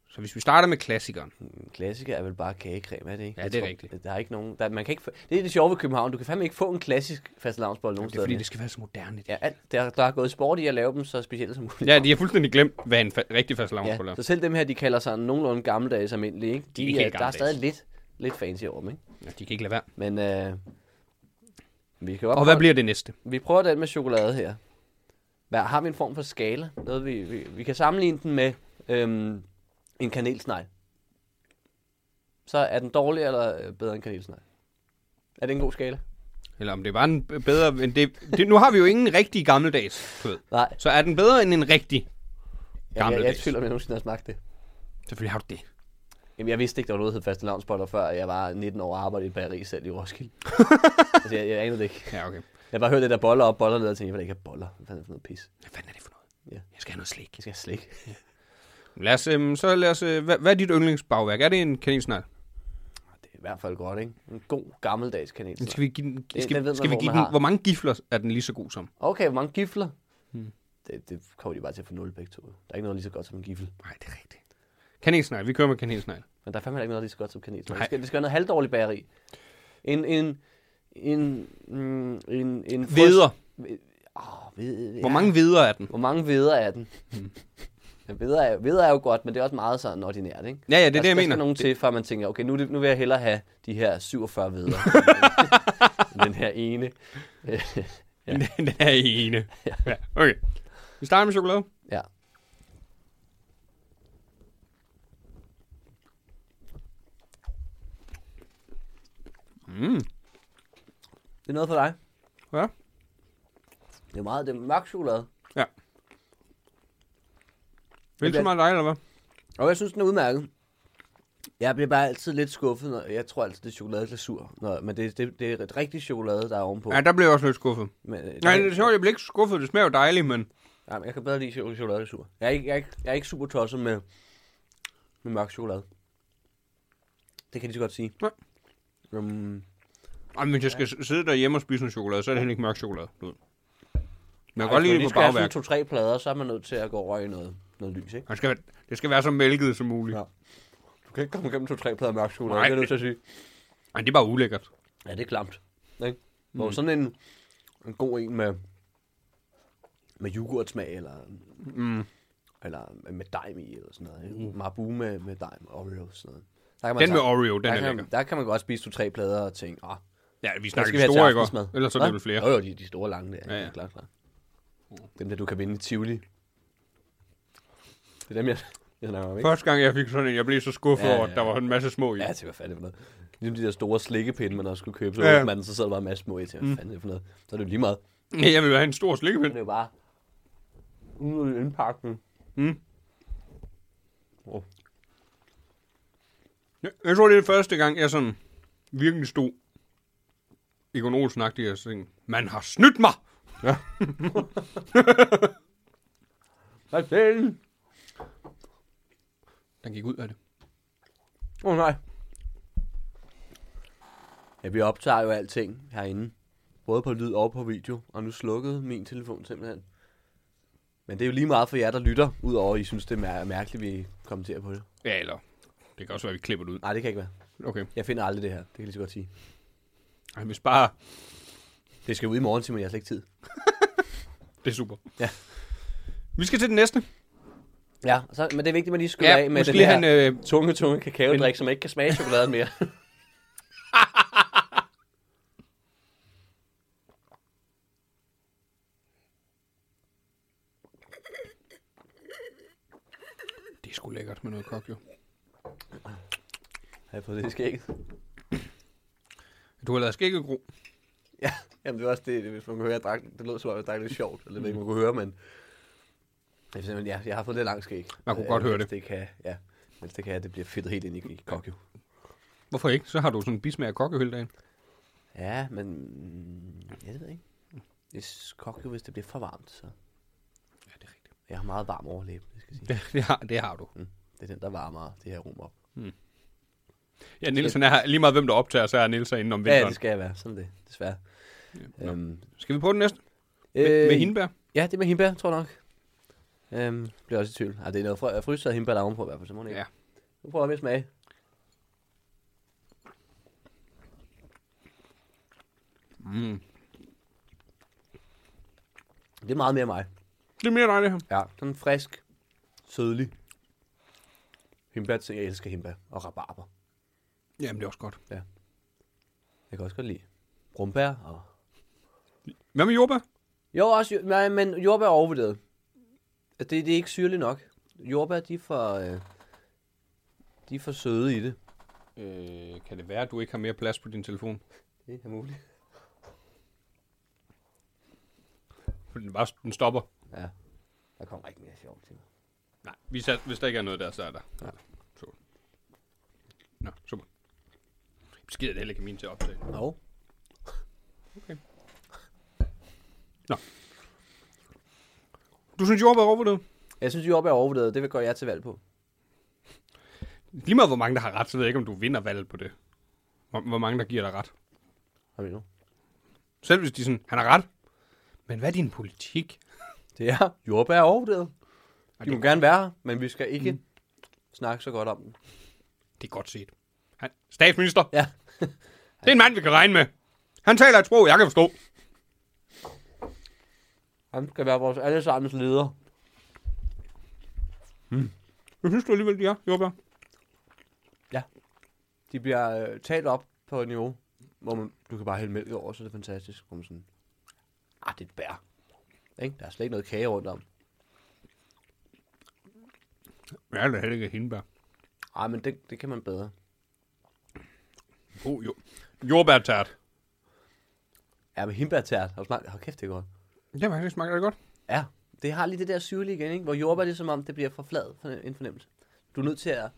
S4: Så hvis vi starter med klassikeren.
S3: En klassiker er vel bare kagecreme, er det ikke?
S4: Ja,
S3: Jeg
S4: det er
S3: tror,
S4: rigtigt.
S3: Der er ikke nogen... Der, man kan ikke, få- det er det sjove ved København. Du kan fandme ikke få en klassisk fastelavnsbolle nogen
S4: Det er
S3: steder.
S4: fordi,
S3: mere.
S4: det skal være så moderne. Det.
S3: Ja, alt, der, der er gået sport i at lave dem så specielt som muligt.
S4: Ja, de har fuldstændig glemt, hvad en fa- rigtig fast
S3: ja,
S4: lavnsbolle er.
S3: så selv dem her, de kalder sig nogenlunde gammeldags almindelige, ikke? De,
S4: ikke helt
S3: er, der er
S4: gammeldags.
S3: stadig lidt, lidt fancy over dem, ikke?
S4: Ja, de kan ikke lade være.
S3: Men øh, vi kan jo
S4: Og hvad bliver det næste?
S3: Vi prøver den med chokolade her. Hvad, har vi en form for skala? Noget, vi, vi, vi kan sammenligne den med øhm, en kanelsnegl. Så er den dårlig eller øh, bedre end kanelsnegl? Er det en god skala?
S4: Eller om det var en bedre end det... det nu har vi jo ingen rigtig gammeldags, du ved.
S3: Nej,
S4: Så er den bedre end en rigtig?
S3: jeg, jeg, jeg er i
S4: Gammeldags.
S3: tvivl om, jeg nogensinde har smagt det.
S4: Selvfølgelig har du det.
S3: Jamen, jeg vidste ikke, der var noget, der hed faste lavnsboller, før jeg var 19 år og arbejdede i et bageri selv i Roskilde. altså, jeg, jeg anede det ikke.
S4: Ja, okay.
S3: Jeg bare hørte det der boller op, boller ned, og tænkte, jeg vil ikke have boller. Hvad fanden er det for noget pis?
S4: Hvad fanden er det for noget?
S3: Ja.
S4: Jeg skal have noget slik.
S3: Jeg skal have slik.
S4: Lad os, øhm, så lad os, øh, hvad, hvad er dit yndlingsbagværk? Er det en kanelsnegl?
S3: Det er i hvert fald godt, ikke? En god gammeldags kanel.
S4: Men Skal vi give den,
S3: den
S4: skal,
S3: ved man,
S4: skal vi
S3: hvor
S4: give
S3: man
S4: den,
S3: har.
S4: hvor mange gifler er den lige så god som?
S3: Okay, hvor mange gifler?
S4: Hmm.
S3: Det, det kommer de bare til at få nul begge to. Der er ikke noget lige så godt som en gifle.
S4: Nej, det er rigtigt. Kanelsnegl, vi kører med kanelsnegl.
S3: Men der er fandme heller ikke noget lige så godt som kanel.
S4: Nej.
S3: Vi skal, vi skal have noget halvdårligt bageri. En, en, en, en, en, en frøs-
S4: Veder.
S3: Åh, ved,
S4: Hvor mange Hmm. veder er den?
S3: Hvor mange veder er den? Ja, veder, er, veder er jo godt, men det er også meget sådan ordinært, ikke?
S4: Ja, ja, det
S3: der,
S4: er det, jeg
S3: der
S4: mener.
S3: skal nogen til, før man tænker, okay, nu, er det- nu vil jeg hellere have de her 47 veder. end den her ene.
S4: Ja. den er ene. Ja. Okay. Vi starter med chokolade.
S3: Ja.
S4: Mm.
S3: Det er noget for dig.
S4: Ja.
S3: Det er meget, det er mørk chokolade.
S4: Vil så
S3: bliver-
S4: meget dig, eller hvad?
S3: Og jeg synes, den er udmærket. Jeg bliver bare altid lidt skuffet, når jeg tror altid, det er chokoladeglasur. Når, men det, det, det er et rigtigt chokolade, der er ovenpå.
S4: Ja, der blev jeg også lidt skuffet.
S3: men, øh,
S4: Nej,
S3: der-
S4: det er sjovt, jeg blev ikke skuffet. Det smager jo dejligt, men...
S3: Ja, men jeg kan bedre lide chok- chokoladeglasur. Jeg er ikke, jeg er ikke, jeg er ikke super tosset med, med mørk chokolade. Det kan de så godt sige.
S4: Nej.
S3: Um,
S4: Ej, men hvis jeg skal s- sidde derhjemme og spise noget chokolade, så er det heller ikke mørk chokolade. Du ved. Men jeg kan godt lide det på
S3: Hvis man
S4: bagværk.
S3: altså, skal to-tre plader, så er man nødt til at gå over i noget, noget lys, ikke?
S4: Det skal, være- det skal være så mælket som muligt.
S3: Ja. Du kan ikke komme igennem to-tre plader mørk chokolade,
S4: Nej.
S3: det er jeg nødt til at sige.
S4: Ej, det er bare ulækkert.
S3: Ja, det er klamt. Mm. Ikke? Hvor sådan en, en god en med, med yoghurtsmag, eller,
S4: Mm.
S3: eller med dejm i, eller sådan noget. Ikke? Marabu med, med dejm, Oreo, sådan noget. Der kan
S4: Den med
S3: så-
S4: Oreo, den
S3: der
S4: er
S3: kan,
S4: lækker.
S3: man- der kan man godt spise to-tre plader og tænke, ah,
S4: Ja, vi
S3: hvad
S4: snakker
S3: skal
S4: de
S3: vi have til
S4: store, ikke?
S3: aftensmad?
S4: også? Ellers så er det
S3: Hvad?
S4: vel flere.
S3: Jo, jo, de, de store lange der.
S4: Ja,
S3: Ja,
S4: ja.
S3: ja. Klart, klart. Dem der, du kan vinde i Tivoli. Det er dem, jeg, jeg snakker om, ikke?
S4: Første gang, jeg fik sådan en, jeg blev så skuffet
S3: Ja,
S4: over, at
S3: ja.
S4: der var en masse små i.
S3: Ja, til hvad fanden er det for noget. Ligesom de der store slikkepinde, man også skulle købe. Så
S4: Ja. Mm.
S3: ja. man den, så sad der bare en masse små i til. Hvad fanden er det for noget? Så er det jo lige meget.
S4: Jeg vil have en stor
S3: Men det
S4: slikkepind.
S3: er jo bare ude i indpakningen.
S4: Ja, Jeg tror, det er første gang, jeg sådan virkelig stod i Olsen og tænkte, man har snydt mig!
S3: Hvad fanden?
S4: Den gik ud af det.
S3: Åh oh, nej. Ja, vi optager jo alting herinde. Både på lyd og på video. Og nu slukkede min telefon simpelthen. Men det er jo lige meget for jer, der lytter. Udover, at I synes, det er mær- mærkeligt, vi kommenterer på det.
S4: Ja, eller det kan også være, at vi klipper det ud.
S3: Nej, det kan ikke være.
S4: Okay.
S3: Jeg finder aldrig det her. Det kan jeg lige så godt sige.
S4: Ej, hvis bare...
S3: Det skal ud i morgen, Simon. Jeg har slet ikke tid.
S4: Det er super.
S3: Ja.
S4: Vi skal til den næste.
S3: Ja, så, men det er vigtigt, at man lige skyller
S4: Ja,
S3: af med
S4: måske
S3: den
S4: lige
S3: her
S4: han...
S3: han, øh...
S4: Øh,
S3: tunge, tunge kakaodrik, som ikke kan smage chokoladen mere.
S4: det er sgu lækkert med noget kok, jo.
S3: har jeg fået det i skægget?
S4: Du har lavet skæggegro.
S3: Ja, jamen det var også det, hvis man kunne høre, jeg drak, det lød som om, jeg drak lidt sjovt, eller det ved ikke, man kunne høre, men det er simpelthen, ja, jeg har fået lidt langt skæg.
S4: Man kunne
S3: Øh,
S4: godt høre
S3: mens
S4: det.
S3: det kan, ja, mens det kan, det bliver fedtet helt ind i, i kok, jo.
S4: Hvorfor ikke? Så har du sådan en bismag af kokke hele dagen.
S3: Ja, men mm, ja, det ved jeg ikke. Det kok jo, hvis det bliver for varmt, så
S4: Ja, det er rigtigt.
S3: jeg har meget varm overlæb, det skal jeg sige.
S4: Det, det, har, det har du.
S3: Det er den, der varmer det her rum op.
S4: Ja, Nielsen er her. Lige meget hvem der optager, så er Nielsen inde om
S3: Ja,
S4: vinteren.
S3: det skal jeg være, sådan er det, desværre. Ja, øhm, øh,
S4: Skal vi på den næste? Med, med hindbær?
S3: Ja, det er med hindbær, tror jeg nok. Øhm, bliver også i tvivl. Ej, det er noget frø, fryset hindbær, der er ovenpå i hvert fald, så må det ikke.
S4: Ja.
S3: Nu prøver jeg med smag.
S4: Mm.
S3: Det er meget mere mig.
S4: Det er mere dig, det her.
S3: Ja. Sådan frisk, sødlig. Hindbær, ting, jeg elsker hindbær og rabarber.
S4: Jamen, det er også godt.
S3: Jeg kan også godt lide brumbær og...
S4: Hvad med jordbær?
S3: Jo, også, jo- nej, men jordbær er overvurderet. Altså, Det, det er ikke syrligt nok. Jordbær, de er for... Øh, de er for søde i det.
S4: Øh, kan det være, at du ikke har mere plads på din telefon?
S3: Det er muligt.
S4: For den, bare, den stopper.
S3: Ja. Der kommer ikke mere sjovt til mig.
S4: Nej, hvis der, hvis der ikke er noget der, så er der. Ja. Så. Nå, super. Skider det heller ikke min til at optage.
S3: Nå.
S4: Du synes, jordbær er overvurderet?
S3: Jeg synes, jordbær er overvurderet. Det vil gøre jeg til valg på.
S4: Lige meget, hvor mange, der har ret, så ved jeg ikke, om du vinder valget på det. Hvor, hvor mange, der giver dig ret.
S3: Hvad mener du?
S4: Selv hvis de sådan, han har ret. Men hvad er din politik?
S3: Det er jordbær er overvurderet. De
S4: det-
S3: må gerne være her, men vi skal ikke mm. snakke så godt om den.
S4: Det er godt set. Han, statsminister,
S3: Ja.
S4: det er en mand, vi kan regne med. Han taler et sprog, jeg kan forstå.
S3: Han skal være vores allesammens leder.
S4: Jeg synes du alligevel, de er, jordbær.
S3: De bliver øh, talt op på et niveau, hvor man, du kan bare hælde mælk over, så er det fantastisk. Hvor man sådan, ah, det er et bær. Ikke? Der er slet ikke noget kage rundt om.
S4: Ja, det er heller ikke hindbær.
S3: Ej, "Ah, men det, det kan man bedre.
S4: Oh, jo. Jordbærtært.
S3: Ja, men hindbærtært. Har du smagt? Hold kæft, det er godt.
S4: Det var faktisk smager det godt.
S3: Ja, det har lige det der syrlige igen, ikke? hvor jordbær det er som om, det bliver for flad for en fornemmelse. Du er nødt til at,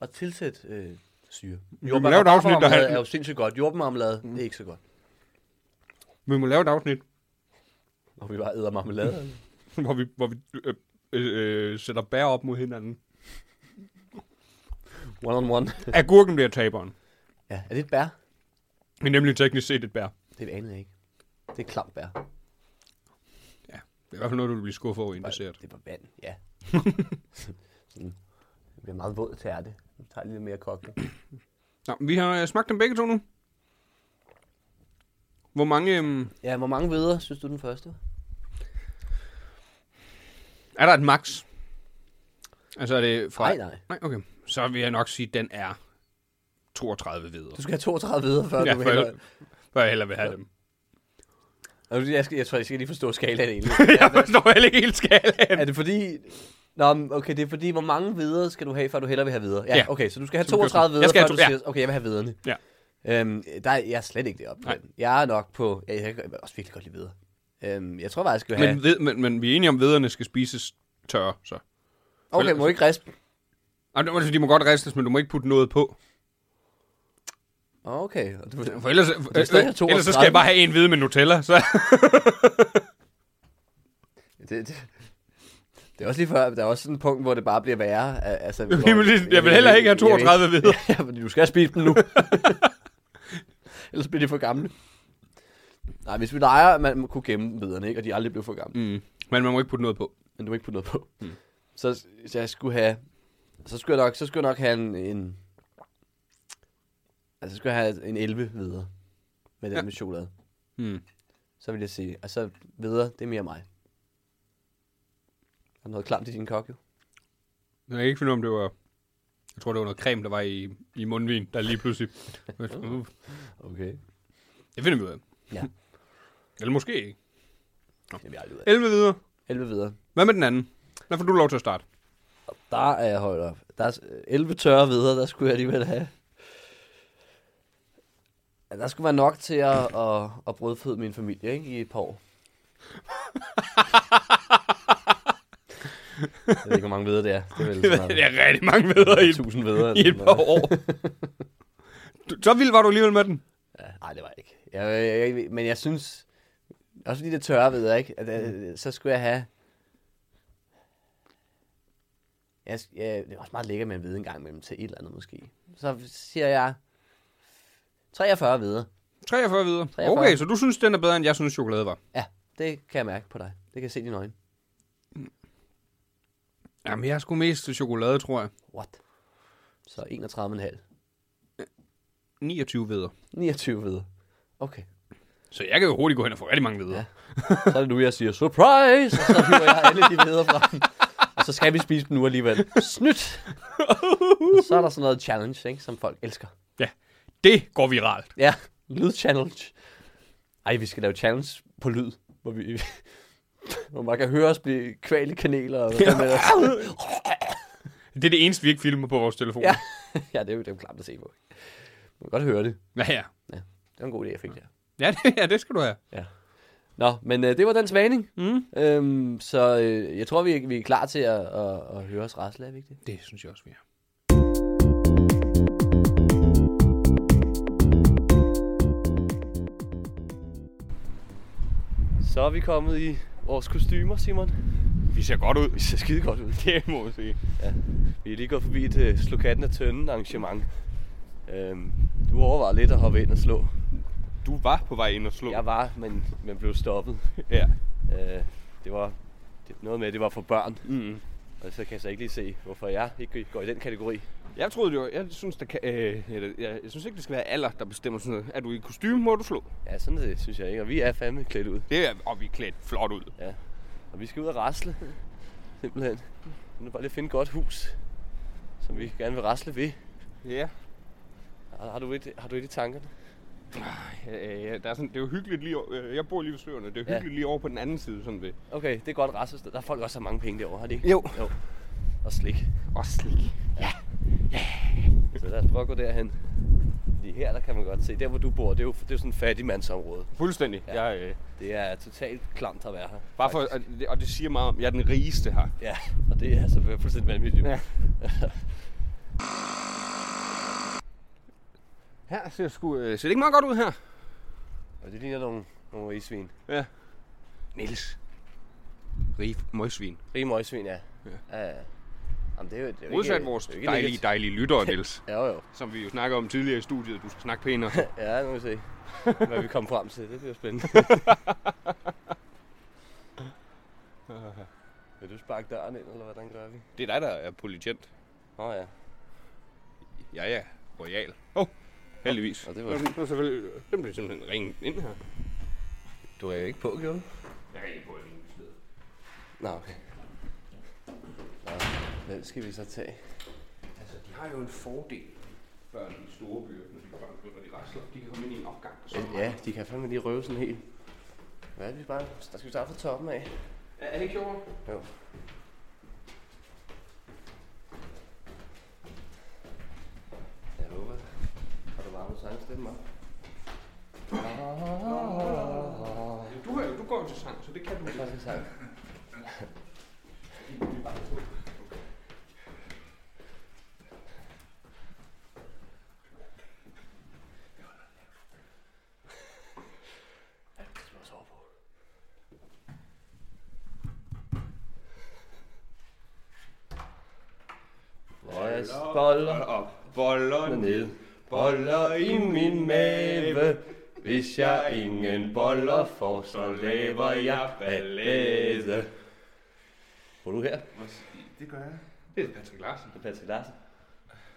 S3: at tilsætte øh, syre.
S4: lave et afsnit, der
S3: rabarbermarmelade
S4: har-
S3: er jo sindssygt godt. Jordbærmarmelade, mm. det er ikke så godt.
S4: Vi må lave et afsnit,
S3: Og vi bare æder marmelade.
S4: hvor vi, hvor vi øh, øh, øh, sætter bær op mod hinanden.
S3: one on one.
S4: Agurken bliver taberen.
S3: ja, er det et bær?
S4: Det er nemlig teknisk set et bær.
S3: Det anede jeg ikke. Det er et klamt bær.
S4: Det er i hvert fald noget, du vil blive skuffet over, inden du ser det.
S3: Det er på vand, ja. Sådan. Jeg bliver meget våd til ærte. Jeg tager lidt mere kokke.
S4: Nå, vi har øh, smagt dem begge to nu. Hvor mange... Øh,
S3: Ja, hvor mange videre synes du den første?
S4: er der et max? Altså er det fra...
S3: Nej, nej.
S4: Nej, okay. Så vil jeg nok sige, at den er 32 videre.
S3: Du skal have 32 videre, før
S4: Ja,
S3: ja, du
S4: for
S3: hælder.
S4: jeg, for jeg hellere vil have dem.
S3: Og Jeg, skal, jeg tror, jeg skal lige forstå skalaen egentlig.
S4: Jeg forstår heller ikke helt skalaen.
S3: Er det fordi... Nå, men okay, det er fordi, hvor mange videre skal du have, før du hellere vil have videre? Ja,
S4: Ja.
S3: okay, så du skal have
S4: Så du kan-
S3: 32 videre,
S4: Jeg skal
S3: før
S4: have
S3: du
S4: to- ja.
S3: siger, okay, jeg vil have viderne. Øhm,
S4: Ja. Nej.
S3: den. Jeg er nok på... Jeg, jeg kan også virkelig godt lide videre. Øhm, jeg tror faktisk, jeg skal have...
S4: Men, ved, men, men vi er enige om, at vederne skal spises tørre, så.
S3: okay, må jeg ikke rispe?
S4: Ej, det- altså, de må godt ristes, men du må ikke putte noget på.
S3: Okay. og det-
S4: For ellers,
S3: er stadig
S4: øh, øh, ellers så skal
S3: 32.
S4: jeg bare have en hvide med Nutella, så.
S3: Det, det, det er også lige før, der er også sådan en punkt, hvor det bare bliver værre. Al- Altså, hvor,
S4: Jamen, det- jeg vil heller ikke have
S3: jeg vil
S4: 32 hvide.
S3: Ja, fordi du skal spise dem nu. Ellers bliver de for gamle. Nej, hvis vi leger, at man kunne gemme vederne, ikke? og de aldrig blev for gamle. Mm.
S4: Mm. Men man må ikke putte noget på.
S3: Men du må ikke putte noget på. Mm. Så, så, jeg skulle have... Så skulle jeg nok, så skulle jeg nok have en... en altså, så skulle jeg have en 11 videre med den ja.
S4: Ja.
S3: med chokolade.
S4: Mm.
S3: Så vil jeg sige, og så videre, det er mere mig. Har du noget klamt i din kok, jo?
S4: Jeg kan ikke finde ud af, om det var... Jeg tror, det var noget creme, der var i, i mundvin, der lige pludselig... Uh,
S3: Okay.
S4: Det finder vi ud af.
S3: Ja.
S4: Eller måske ikke.
S3: Det finder vi aldrig ud af.
S4: 11 videre.
S3: 11 videre.
S4: Hvad med den anden? Der får du lov til at starte.
S3: Der er jeg holdt op. Der er s- 11 tørre videre, der skulle jeg alligevel have. Ja, Der skulle være nok til at, at, at brødføde min familie ikke? i et par år. jeg ved ikke, hvor mange videre det er. Det er vel sådan
S4: Det er rigtig mange videre i, et-
S3: 1000 videre.
S4: i et par år. Du, så vild var du alligevel med den.
S3: Nej, det var jeg ikke. Jeg, jeg, jeg, men jeg synes, også fordi det er tørre ved jeg ikke, at, øh, så skulle jeg have... Jeg, sk- jeg, det er også meget lækkert med en hvide en gang imellem til et eller andet måske. Så siger jeg 43 hvide.
S4: 43 videre.
S3: 43.
S4: Okay, så du synes, den er bedre, end jeg synes, chokolade var.
S3: Ja, det kan jeg mærke på dig. Det kan jeg se i dine øjne.
S4: Jamen, jeg er sgu mest til chokolade, tror jeg.
S3: What? Så 31,5.
S4: 29 videre.
S3: 29 hvide. Okay.
S4: Så jeg kan jo hurtigt gå hen og få rigtig mange videre.
S3: Ja. Så er det nu, jeg siger surprise, og så hiver jeg alle de videre frem. Og så skal vi spise dem nu alligevel. Snydt! Og så er der sådan noget challenge, ikke, som folk elsker.
S4: ja. Det går viralt.
S3: Ja, lyd-challenge. Ej, vi skal lave challenge på lyd, hvor vi... Hvor man kan høre os blive kvalt i kanaler. Og hvad med
S4: Det er det eneste, vi ikke filmer på vores telefon.
S3: ja. ja, det er jo, det er jo klart at se på. Man kan godt høre det.
S4: Ja, ja.
S3: Det var en god idé, jeg fik der.
S4: Ja, det, ja, det skal du have.
S3: Nå, men øh, det var den svaning.
S4: Mm.
S3: Øhm, så øh, jeg tror, vi, vi er klar til at, at, at høre os rasle, er vi ikke det?
S4: Det synes jeg også, vi er.
S3: Så er vi kommet i vores kostymer, Simon.
S4: Vi ser godt ud.
S7: Vi ser skide godt ud.
S4: Det må jeg sige.
S7: Vi er lige gået forbi et øh, slå katten af tønden arrangement. Øhm, du overvejede lidt at hoppe ind og slå.
S4: Du var på vej ind og slå.
S7: Jeg var, men, men blev stoppet.
S4: Ja.
S7: Øh, det var det, noget med, at det var for børn.
S4: Mm.
S7: Og så kan jeg så ikke lige se, hvorfor jeg ikke går i den kategori.
S4: Jeg troede det var, jeg synes, der kan, øh, jeg, jeg, jeg, synes ikke, det skal være alder, der bestemmer sådan noget. Er du i kostume, må du slå.
S7: Ja, sådan det, synes jeg ikke. Og vi er fandme klædt ud.
S4: Det er, og vi er klædt flot ud.
S7: Og vi skal ud og rasle. Simpelthen. Nu er bare lige at finde et godt hus, som vi gerne vil rasle ved.
S4: Ja.
S7: Har, har du et, har du et i tankerne?
S4: Øh, der er sådan, det er jo hyggeligt lige, o- øh, jeg bor lige ved søerne, det er jo
S7: Ja.
S4: hyggeligt lige over på den anden side, sådan ved.
S7: Okay, det er godt raslested. Der er folk også har mange penge derovre, har de ikke?
S4: Jo.
S7: jo. Og slik.
S4: Og slik.
S7: Så lad os prøve at gå derhen. Lige her, der kan man godt se. Der, hvor du bor, det er jo, det er jo sådan et fattigmandsområde.
S4: Fuldstændig.
S7: Ja.
S4: Ja. Jeg, øh,
S7: Det er totalt klamt at være her.
S4: bare for, og,
S7: faktisk.
S4: det, og det siger meget om, jeg er den rigeste her.
S7: Ja, og det er altså fuldstændig vanvittigt. Ja.
S4: Her ser, sgu, øh, ser det ikke meget godt ud her?
S7: Og det ligner nogle, nogle rigsvin.
S4: Ja. Niels. Rige møgsvin.
S7: Rige møgsvin, ja. ja. ja. Jamen, det er jo, det er jo
S4: Modsat
S7: ikke,
S4: vores
S7: det er jo ikke
S4: dejlige,
S7: lækkert.
S4: dejlige lyttere, Niels.
S7: Ja, jo.
S4: Som vi jo snakker om tidligere i studiet, du skal snakke pænere.
S7: Ja, nu må vi se, hvad vi kommer frem til. Det bliver spændende. Vil du sparke døren ind, eller hvordan gør vi?
S4: det er dig, der er politient.
S7: Nå ja.
S4: Ja, ja. Royal. Åh, oh, heldigvis.
S7: Og det var-
S4: det var selvfølgelig... Den blev simpelthen ringet ind her.
S7: Du er jo ikke på, gjorde du?
S4: Jeg er ikke på et
S7: Nå, okay. Nå, hvem skal vi så tage?
S4: Altså, de har jo en fordel, børn i store byer, når de, børn, når de rasler. De kan komme ind i en opgang. og Så
S7: Ja, de kan fandme lige røve sådan helt. Hvad er det, vi bare... Der skal vi starte fra toppen af.
S4: Er, er det ikke sjovt?
S7: Jo. Jeg håber, har du varmet sangstemmen op?
S4: Altså, konkurrencesang, så det kan du ikke.
S7: sang. Jeg boller
S4: op, boller
S7: ned, boller i min mave. Hvis jeg ingen boller får, så laver jeg ballade. Bor du her?
S8: Det gør jeg.
S4: Det er Patrick Larsen.
S7: Det er Patrick Larsen.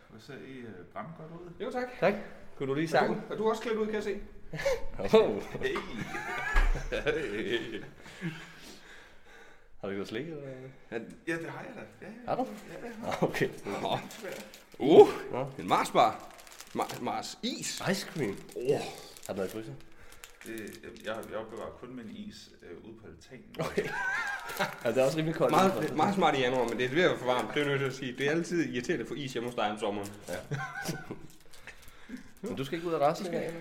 S8: Og så I øh, ramme godt ud.
S4: Jo tak.
S7: Tak. Kunne du lige sangen?
S4: Er du også klædt ud, kan jeg se?
S7: Oh. Har du gjort slik? Eller? hvad?
S8: Ja, det har jeg da. Ja, ja.
S7: Har du? Nå, Okay.
S4: Uh, en Marsbar. Ma- Mars is.
S7: Ice cream. Oh. Har du noget i fryseren?
S8: Det, jeg, jeg opbevarer kun min is øh, ude på altanen.
S7: Okay. altså, det er også rimelig koldt.
S4: Meget, meget smart i januar, men det er ved at være for varmt. Det er jeg nødt til at sige. Det er altid irriterende for is hjemme hos dig om sommeren.
S7: Men du skal ikke ud og rasle i dag, eller?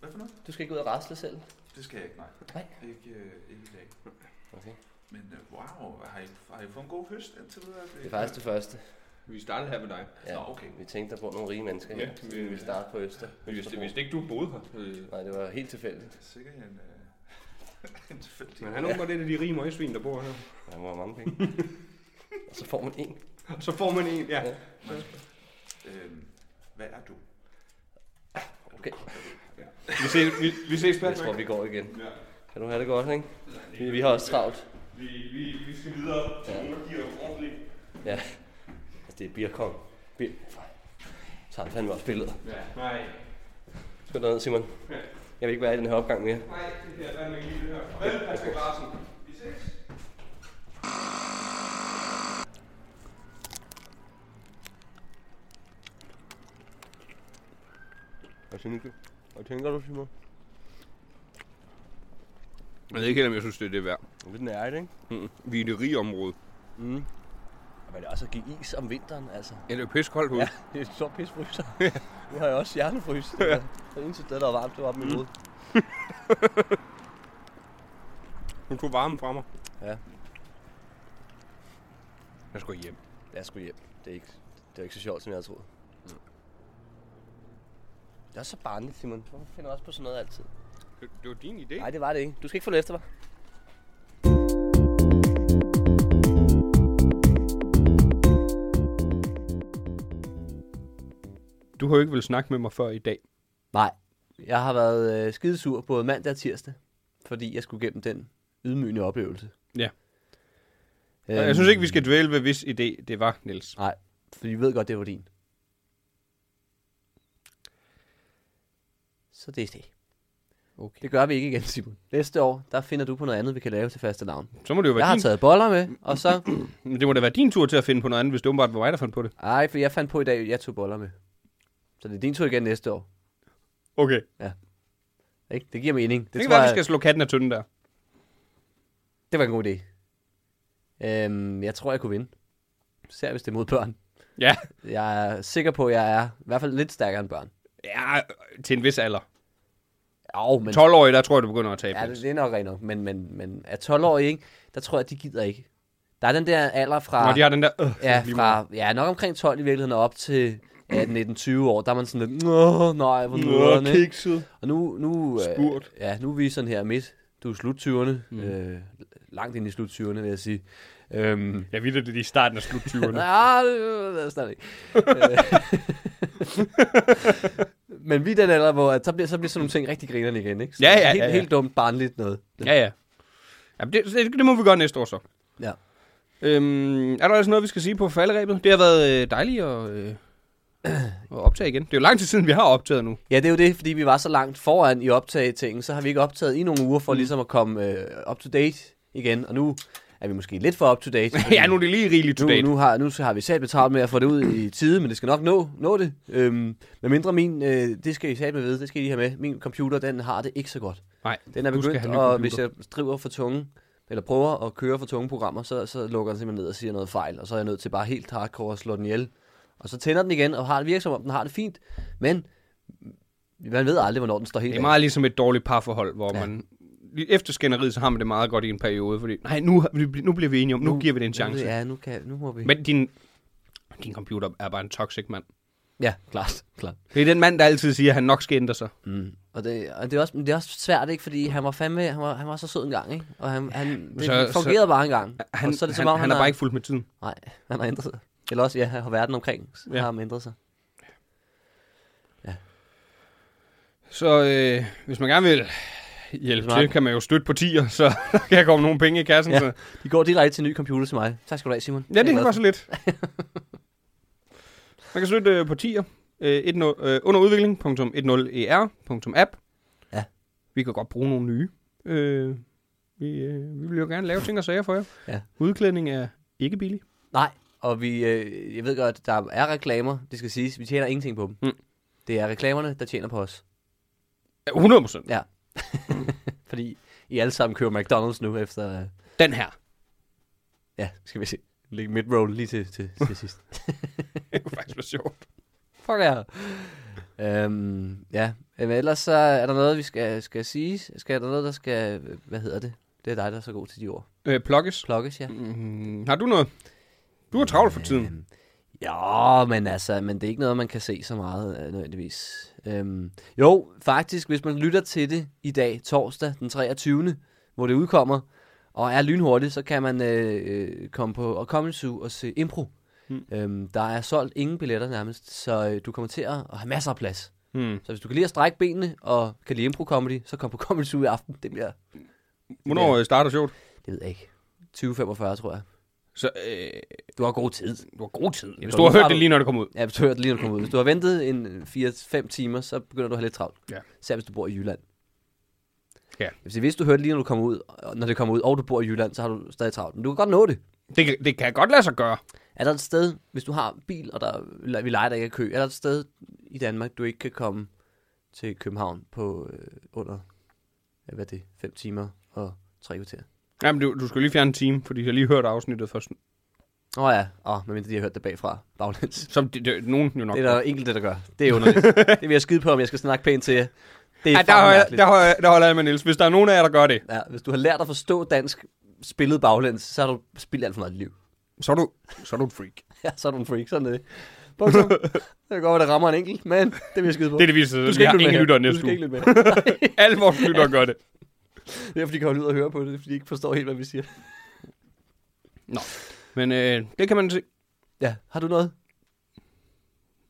S8: Hvad for noget?
S7: Du skal ikke ud og rasle selv.
S8: Det skal jeg ikke, nej.
S7: Nej.
S8: Ikke, øh, ikke i dag.
S7: Okay.
S8: Men øh, wow, har I, har I fået en god høst indtil videre?
S7: Det er faktisk det første.
S4: Vi startede her med dig.
S7: Ja.
S8: Nå, okay.
S7: Vi tænkte, der bor nogle rige mennesker her.
S4: Ja,
S7: så vi
S4: vi-
S7: ville starte på Øster.
S4: Men hvis, hvis ikke du boede her. Øh,
S7: Nej, det var helt tilfældigt.
S8: Det er sikkert en, øh, en tilfældig...
S4: men han åbenbart det er de rige møgsvin, der bor her.
S7: Der var mange penge. og så får man en.
S4: Så får man en, ja.
S7: Ja.
S8: Øhm, hvad er du?
S7: Okay.
S4: Vi ses, vi, vi ses
S7: Jeg tror, vi går igen.
S4: Ja.
S7: Kan du have det godt, ikke? Vi, vi har også travlt.
S4: Vi, vi, vi skal videre til nogle af de her ordentlige.
S7: Ja. Altså, det er Birkong. Bir... Så har han fandme også billeder.
S4: Ja. Nej.
S7: Skal du ned, Simon?
S4: Ja.
S7: Jeg vil ikke være i den her opgang mere.
S4: Nej, det er fandme ikke lige det her. Farvel, Patrick Larsen. Vi ses.
S7: Hvad synes du? Hvad tænker du, Simon?
S4: Jeg ved ikke helt, om jeg synes, det er det værd.
S7: Det er lidt nærigt, ikke?
S4: Vi er i det rige område.
S7: Mm. Men det er også at give is om vinteren, altså.
S4: Ja, det er pissekoldt ude.
S7: Ja, det er en stor pisfryser. nu har jeg også hjernefrys. Det var det eneste sted, der var varmt, det var op i
S4: Mm.
S7: mit hoved.
S4: Hun tog varmen fra mig.
S7: Ja.
S4: Jeg skal hjem.
S7: Jeg skulle hjem. Det er ikke, det er ikke så sjovt, som jeg havde troet.
S4: Mm.
S7: Det er også så barnligt, Simon. Hvorfor finder du også på sådan noget altid?
S4: Det, det var din idé.
S7: Nej, det var det ikke. Du skal ikke følge efter mig.
S4: Du har jo ikke vel snakke med mig før i dag.
S3: Nej, jeg har været øh, skidesur både mandag og tirsdag, fordi jeg skulle gennem den ydmygende oplevelse.
S4: Ja.
S3: Øhm,
S4: Jeg synes ikke, vi skal dvæle ved, hvis idé det var, Niels.
S3: Nej, for vi ved godt, det var din. Så det er det.
S4: Okay.
S3: Det gør vi ikke igen, Simon. Næste år, der finder du på noget andet, vi kan lave til faste navn.
S4: Så må det jo
S3: Jeg
S4: være
S3: har
S4: din.
S3: taget boller med, og så...
S4: Men Det må da være din tur til at finde på noget andet, hvis det åbenbart var mig, der fandt på det.
S3: Ej, for jeg fandt på i dag, at jeg tog boller med. Så det er din tur igen næste år.
S4: Okay.
S3: Ikke? Det giver mening.
S4: Det, det
S3: tror
S4: kan være,
S3: jeg-
S4: vi skal slå katten af tynden der.
S3: Det var en god idé. Øhm, jeg tror, jeg kunne vinde. Især hvis det er mod børn.
S4: Ja.
S3: Jeg er sikker på, at jeg er i hvert fald lidt stærkere end børn.
S4: Ja, til en vis alder.
S3: Jo, men...
S4: 12 år, der tror jeg, du begynder at tabe.
S3: Ja,
S4: Ja,
S3: det, det er nok rent nok. Men, men, men er 12 år ikke? Der tror jeg, de gider ikke. Der er den der alder fra...
S4: Når de har den der... Øh,
S3: ja,
S4: lige meget.
S3: fra, ja, nok omkring 12 i virkeligheden og op til 18, 19, 20 år. Der er man sådan lidt... Nå, nej, hvor nederen, ikke?"
S4: kikset.
S3: Og nu, nu, øh,
S4: Spurt.
S3: ja, nu er vi sådan her midt. Du er slut 20'erne. Mm. Øh, langt ind i slut 20'erne, vil jeg sige. Øhm,
S4: Jeg ved, det er lige i starten af slut 20'erne.
S3: Nej, det ved jeg snart ikke. Øh, Men vi er den alder, hvor at så bliver, så bliver sådan nogle ting rigtig grinerne igen, ikke? Så
S4: Ja, ja,
S3: helt,
S4: ja, ja.
S3: helt dumt, barnligt noget.
S4: ja, ja. Jamen, det, det, det, må vi gøre næste år så.
S3: Ja.
S4: Øhm, er der også noget, vi skal sige på falderæbet? Det har været øh, dejligt at, øh, at optage igen. Det er jo lang tid siden, vi har optaget nu.
S3: Ja, det er jo det, fordi vi var så langt foran i optagetingen, så har vi ikke optaget i nogle uger
S4: Mm.
S3: for ligesom at komme øh, up to date igen, og nu er vi måske lidt for up to date.
S4: ja, nu er det lige rigeligt
S3: nu,
S4: today.
S3: nu, har, nu har vi sat betalt med at få det ud i tide, men det skal nok nå, nå det. Øhm, med mindre min, øh, det skal I sætte med ved, det skal I have med, min computer, den har det ikke så godt.
S4: Nej,
S3: Den er
S4: du skal
S3: begyndt,
S4: have
S3: og
S4: ny computer.
S3: hvis jeg driver for tunge, eller prøver at køre for tunge programmer, så, så lukker den simpelthen ned og siger noget fejl, og så er jeg nødt til bare helt hardcore at slå den ihjel. Og så tænder den igen, og har det virker som om, den har det fint, men man ved aldrig, hvornår den står helt
S4: Det er
S3: af.
S4: meget ligesom et dårligt parforhold, hvor
S3: Ja.
S4: ja. man lige efter skænderiet, så har man det meget godt i en periode, fordi nej, nu, nu bliver vi enige om, nu, nu giver vi det en chance.
S3: Ja, nu, kan, nu må vi...
S4: Men din, din computer er bare en toxic mand.
S3: Ja, klart, klart.
S4: Det er den mand, der altid siger, at han nok skal ændre sig.
S3: Mm. Og, det, og det, er også, men det er også svært, ikke? Fordi han var fandme, han var, han var så sød en gang, ikke? Og han, han det
S4: Så-
S3: så, fungerede så, bare en gang.
S4: Han,
S3: og så er det
S4: han,
S3: som om,
S4: han, er bare ikke fuldt med tiden.
S3: Nej, han har ændret sig. Eller også, ja, har verden omkring
S4: Ja.
S3: ja. har ham ændret sig.
S4: Så øh, hvis man gerne vil hjælpe
S3: Hvis man-
S4: til, kan man jo støtte på tier, så kan jeg komme nogle penge i kassen. Ja,
S3: Ja.
S4: så.
S3: De går direkte til en ny computer til mig. Tak skal du have, Simon.
S4: ja
S3: er jeg
S4: det
S3: glad
S4: var
S3: for.
S4: så lidt. Man kan støtte øh, på tier. Øh, 10, øh, E underudvikling.10er.app
S3: Ja.
S4: Vi kan godt bruge nogle nye. Øh, vi, øh, vi vil jo gerne lave ting og sager for jer.
S3: Ja.
S4: Udklædning er ikke billig.
S3: Nej, og vi, øh, jeg ved godt, der er reklamer, det skal siges. Vi tjener ingenting på dem.
S4: Mm.
S3: Det er reklamerne, der tjener på os.
S4: Ja, 100 procent.
S3: Fordi I alle sammen køber McDonald's nu efter... Øh,
S4: Den her.
S3: ja, skal vi se. Læg mid-roll lige til, til, til sidst.
S4: Det kunne faktisk være sjovt.
S3: Fuck ja. Øhm, ja, men ellers så er der noget, vi skal, skal sige. Skal er der noget, der skal... Hvad hedder det? Det er dig, der er så god til de ord.
S4: Øh, plukkes.
S3: Plukkes, ja.
S4: Mm, har du noget? Du har travlt for tiden.
S3: Øhm, ja, men altså, men det er ikke noget, man kan se så meget øh, nødvendigvis. Øhm, jo, faktisk, hvis man lytter til det i dag, torsdag den 23., hvor det udkommer, og er lynhurtigt, så kan man øh, øh, komme på og komme og se impro.
S4: Mm.
S3: Mm. Øhm, der er solgt ingen billetter nærmest, så øh, du kommer til at have masser af plads.
S4: Hmm.
S3: Så hvis du kan lide at strække benene og kan lide impro-comedy, så kom på Comedy Zoo i aften. Det bliver,
S4: Hvornår øh, starter showet?
S3: det ved jeg ikke, 2045 tror jeg.
S4: Så, øh,
S3: Du har god tid.
S4: du har god tid. Hvis
S3: går
S4: du har
S3: ud fra,
S4: hørt det
S3: du-
S4: lige, når det kommer ud.
S3: Ja, hvis du hørte lige, når du kom ud. Hvis du har ventet en 4-5 timer, så begynder du at have lidt travlt.
S4: Ja.
S3: Især hvis du bor i Jylland.
S4: Ja.
S3: Hvis, hvis du hørte lige, når du kommer ud, og når det kommer ud, og du bor i Jylland, så har du stadig travlt. Men du kan godt nå det.
S4: Det, kan- det kan godt lade sig gøre.
S3: Er der et sted, hvis du har bil, og der, vi leger dig ikke af kø, er der et sted i Danmark, du ikke kan komme til København på øh, under, ja, hvad er det, 5 timer og 3 kvarter?
S4: Jamen, du, du skal lige fjerne en time, fordi jeg lige hørte afsnittet først.
S3: Åh oh, ja, oh, medmindre de har hørt det bagfra, baglæns.
S4: Som det, det, nogen jo nok.
S3: Det er der enkelte, der gør. Det er underligt. det vil jeg skide på, om jeg skal snakke pænt til jer. Det er
S4: ja,
S3: ja,
S4: der, holder, jeg- der, holder, jeg- der holder jeg med Niels. Hvis der er nogen af jer, der gør det,
S3: Ja, hvis du har lært at forstå dansk spillet baglæns, så har du spildt alt for meget liv.
S4: så er du, så er du en freak.
S3: Ja, så er du en freak, sådan er det. Punktum. det kan godt være, det rammer en enkelt, men det vil jeg skide på.
S4: Det er det, vi siger.
S3: du skal
S4: vi har
S3: ikke lytte
S4: ingen
S3: med
S4: lytter
S3: her.
S4: næste
S3: Du skal ikke
S4: uge.
S3: lytte med.
S4: Alle vores lyttere gør det.
S3: Det er, fordi de kan holde ud og høre på det, det er, fordi de ikke forstår helt, hvad vi siger.
S4: Men øh, det kan man se.
S3: Ja, har du noget?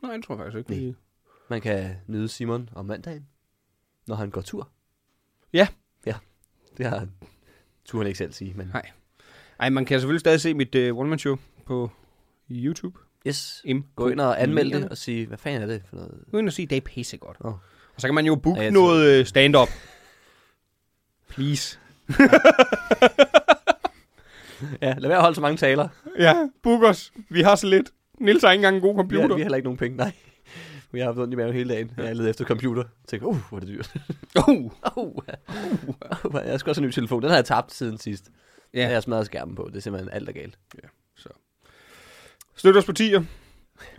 S4: Nej, det tror jeg faktisk ikke.
S3: Nej. Man kan nyde Simon om mandagen, når han går tur.
S4: Ja.
S3: Ja, det har han. Tur han ikke selv sige, men...
S4: Nej. Ej, man kan selvfølgelig stadig se mit øh, one-man-show på YouTube.
S3: Yes,
S4: Im.
S3: gå ind og anmeld det og sige, hvad fanden er det for noget?
S4: Gå ind og sige, det er pissegodt.
S3: Åh.
S4: Oh. Og så kan man jo booke
S3: Ja, jeg tror-
S4: noget øh, stand-up. Please.
S3: Ja, lad være at holde så mange taler.
S4: Ja, book os. Vi har så lidt. Nils har ikke engang en god
S3: Vi har,
S4: computer.
S3: vi har heller ikke nogen penge, nej. Vi har haft ondt i maven hele dagen. Jeg leder efter computer. Jeg tænkte, uh, hvor er det dyrt.
S4: Oh.
S3: Uh, uh, uh, jeg skal også have en ny telefon. Den har jeg tabt siden sidst.
S4: Ja.
S3: Ja. Jeg har smadret skærmen på. Det er simpelthen alt er galt.
S4: Støt os på tier.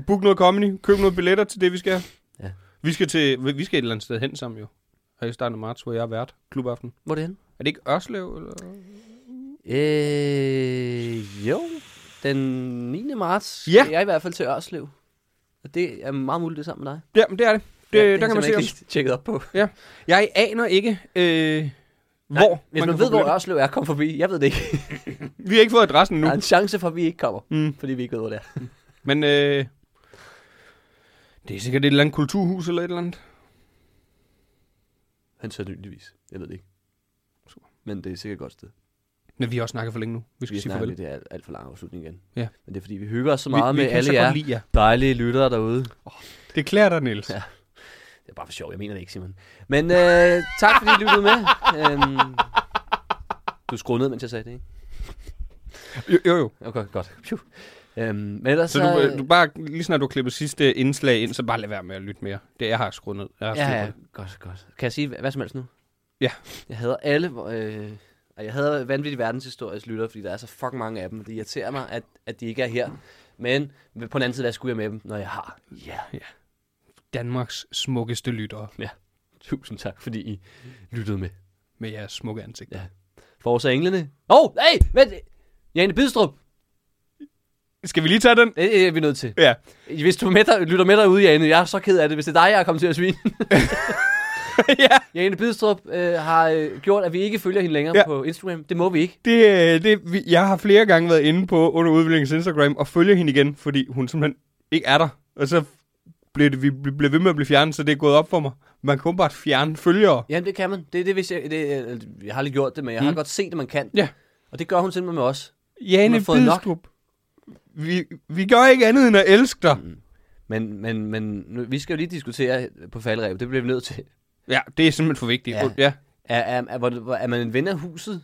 S4: Book noget comedy. Køb noget billetter til det, vi skal.
S3: Ja.
S4: Vi skal, til, vi- vi skal et eller andet sted hen sammen jo. Her i starten af marts, hvor jeg er vært. Klubaften.
S3: Hvor er det henne?
S4: Er det ikke Ørslev? Eller?
S3: Øh, jo. Den 9. marts
S4: Ja.
S3: ja. jeg i hvert fald til Ørslev. Og det er meget muligt det er sammen med dig.
S4: Ja, men det er det. det
S3: Ja,
S4: ja, der kan man se os.
S3: os. tjekket op på.
S4: Jeg aner ikke, øh, hvor
S3: Nej, hvis man,
S4: kan
S3: man
S4: få
S3: ved, hvor
S4: billetter.
S3: Ørslev er, kom forbi. Jeg ved det ikke.
S4: Vi har ikke fået adressen nu.
S3: Der er en chance for, at vi ikke kommer.
S4: Mm.
S3: Mm. Fordi vi ikke ved, hvor det er.
S4: Men øh, det er sikkert et eller andet kulturhus eller et eller andet.
S3: Han sandsynligvis. Jeg ved det ikke.
S4: Super.
S3: Men det er sikkert et godt sted.
S4: Men vi har også snakket for længe nu. Vi skal
S3: Vi
S4: sige
S3: snakker
S4: farvel.
S3: lidt det er alt, alt for lang afslutning igen.
S4: Ja.
S3: Men det er fordi, vi hygger os så meget vi, med
S4: kan
S3: alle
S4: så
S3: jer
S4: godt lide jer.
S3: dejlige lyttere derude.
S4: Det klæder dig, Niels. Ja.
S3: Ja. Det er bare for sjov, jeg mener det ikke, Simon. Men øh, tak fordi I lyttede med. Øhm, du skruede ned, mens jeg sagde det, ikke?
S4: Jo, jo, jo.
S3: Okay, godt. Pju. Øhm, men ellers
S4: Så, du, øh, du bare, lige snart du har klippet sidste indslag ind, så bare lad være med at lytte mere. Det jeg har skruet ned. Jeg har styr på
S3: Ja, ja,
S4: det.
S3: godt, godt. Kan jeg sige hvad hvad som helst nu?
S4: Ja.
S3: Jeg hader alle... Øh, og jeg hader vanvittig verdenshistorisk lytter, fordi der er så fucking mange af dem. og Det irriterer mig, at, at de ikke er her. Men på den anden side, hvad skulle jeg med dem, når jeg har? Ja. Yeah.
S4: Danmarks smukkeste lyttere.
S3: Tusind tak, fordi I lyttede med.
S4: med jeres smukke ansigt.
S3: Ja. Forza Englene. Åh, oh, hey, vent! Jane Bidstrup,
S4: Skal vi lige tage den?
S3: det er vi nødt til.
S4: Ja.
S3: Hvis du er med der, lytter med derude, Jane, jeg er så ked af det, hvis det er dig, jeg er kommet til at svine.
S4: ja.
S3: Jane Bidstrup øh, har øh, gjort, at vi ikke følger hende længere ja.
S4: Ja.
S3: på Instagram. Det må vi ikke.
S4: Det, øh, det, vi- jeg har flere gange været inde på under udviklingens Instagram og følger hende igen, fordi hun simpelthen ikke er der. Og så blev det, vi ble- blev ved med at blive fjernet, så det er gået op for mig. Man kan bare fjerne følgere.
S3: Jamen, det kan man. Det er det, hvis jeg, det, øh, jeg har lige gjort det, men jeg har godt set, at man kan.
S4: Mm. Ja.
S3: Og det gør hun simpelthen med os. Hun
S4: Jane
S3: har fået nok.
S4: Bidstrup. Vi, vi gør ikke andet end at elske dig.
S3: Mm. Men, men, men nu, vi skal jo lige diskutere på faldrebet. Det bliver vi nødt til.
S4: Ja, det er simpelthen for vigtigt.
S3: Ja.
S4: Ja. ja.
S3: Er, er, er, er, er man en ven af huset?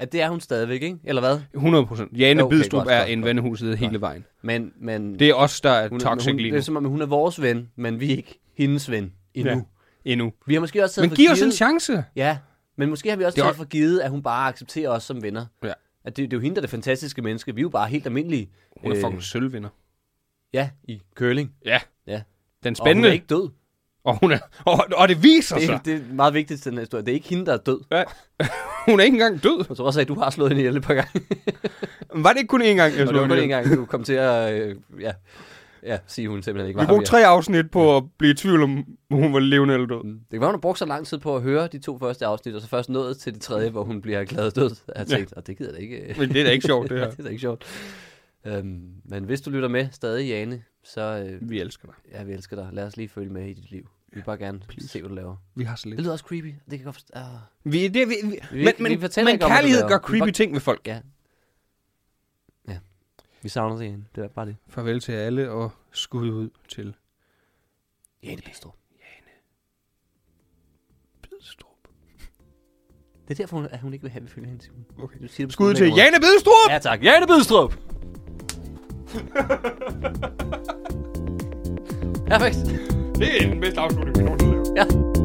S3: At det er hun stadigvæk, ikke? Eller hvad?
S4: 100 Jane
S3: Okay,
S4: okay, Bidstrup
S3: godt,
S4: er
S3: godt,
S4: en
S3: godt.
S4: vennehuset hele vejen.
S3: Men, men
S4: Det er os, der er
S3: hun,
S4: toxic
S3: hun,
S4: lige
S3: Det
S4: nu.
S3: er som om, hun er vores ven, men vi er ikke hendes ven endnu. Ja.
S4: Ja. Endnu.
S3: Vi har måske også taget
S4: Men
S3: for
S4: giv os
S3: givet-
S4: en chance.
S3: Ja, men måske har vi også
S4: Det er
S3: taget
S4: jo-
S3: for givet, at hun bare accepterer os som venner.
S4: Ja.
S3: At det, det er jo hende, der er det fantastiske menneske. Vi er jo bare helt almindelige. øh,
S4: Hun er fucking sølvvinder.
S3: Ja, i curling.
S4: Ja.
S3: Ja.
S4: Den er
S3: Og hun
S4: spændende. Altså.
S3: er ikke død.
S4: Og, hun er, og, og det viser
S3: Det, er,
S4: sig.
S3: det er meget vigtigt til den her historie. Det er ikke hende, der er død.
S4: Ja. Hun er ikke engang død.
S3: Jeg tror også, at du har slået hende ihjel et par gange.
S4: Var det ikke kun én gang, jeg
S3: Og det
S4: slog
S3: var
S4: hende
S3: kun
S4: ihjel?
S3: en gang, du kom til at... Øh, ja, ja, sige hun simpelthen ikke
S4: Vi
S3: var
S4: brugte
S3: her.
S4: tre afsnit på at blive i tvivl om, om hun var levende eller død.
S3: Mm. Det kan være, hun har brugt så lang tid på at høre de to første afsnit, og så først nået til det tredje, hvor hun bliver erklæret død. Jeg har tænkt, og det gider det ikke. øh."
S4: Men det er da ikke sjovt, det her.
S3: det er da ikke sjovt. Øhm, men hvis du lytter med stadig, Jane, så øh,
S4: Vi elsker dig.
S3: ja, vi elsker dig. Lad os lige følge med i dit liv. Vi vil bare gerne Please. se, hvad du laver.
S4: Vi har så lidt.
S3: Det lyder også creepy. Det kan jeg godt forstå. Ah.
S4: Vi, det, vi, vi,
S3: Vi-
S4: men
S3: vi
S4: men,
S3: fortæller
S4: men
S3: ikke om, hvad
S4: kærlighed
S3: du laver.
S4: gør
S3: Vi
S4: creepy
S3: bare-
S4: ting ved folk.
S3: Ja. Ja. Vi savner det igen. Det er bare det.
S4: Farvel til alle, og skud ud til
S3: Jane Bistrup.
S4: Bidstrup.
S3: Det er derfor, hun, at hun ikke vil have, at vi følger hende. Simon.
S4: Okay.
S3: Du siger det på
S4: Skud ud
S3: sådan
S4: til
S3: en måde.
S4: Jane Bidstrup!
S3: Ja tak. Jane Bidstrup! Perfekt.
S4: Det er den bedste afslutning, vi nogensinde har lavet.
S3: Ja.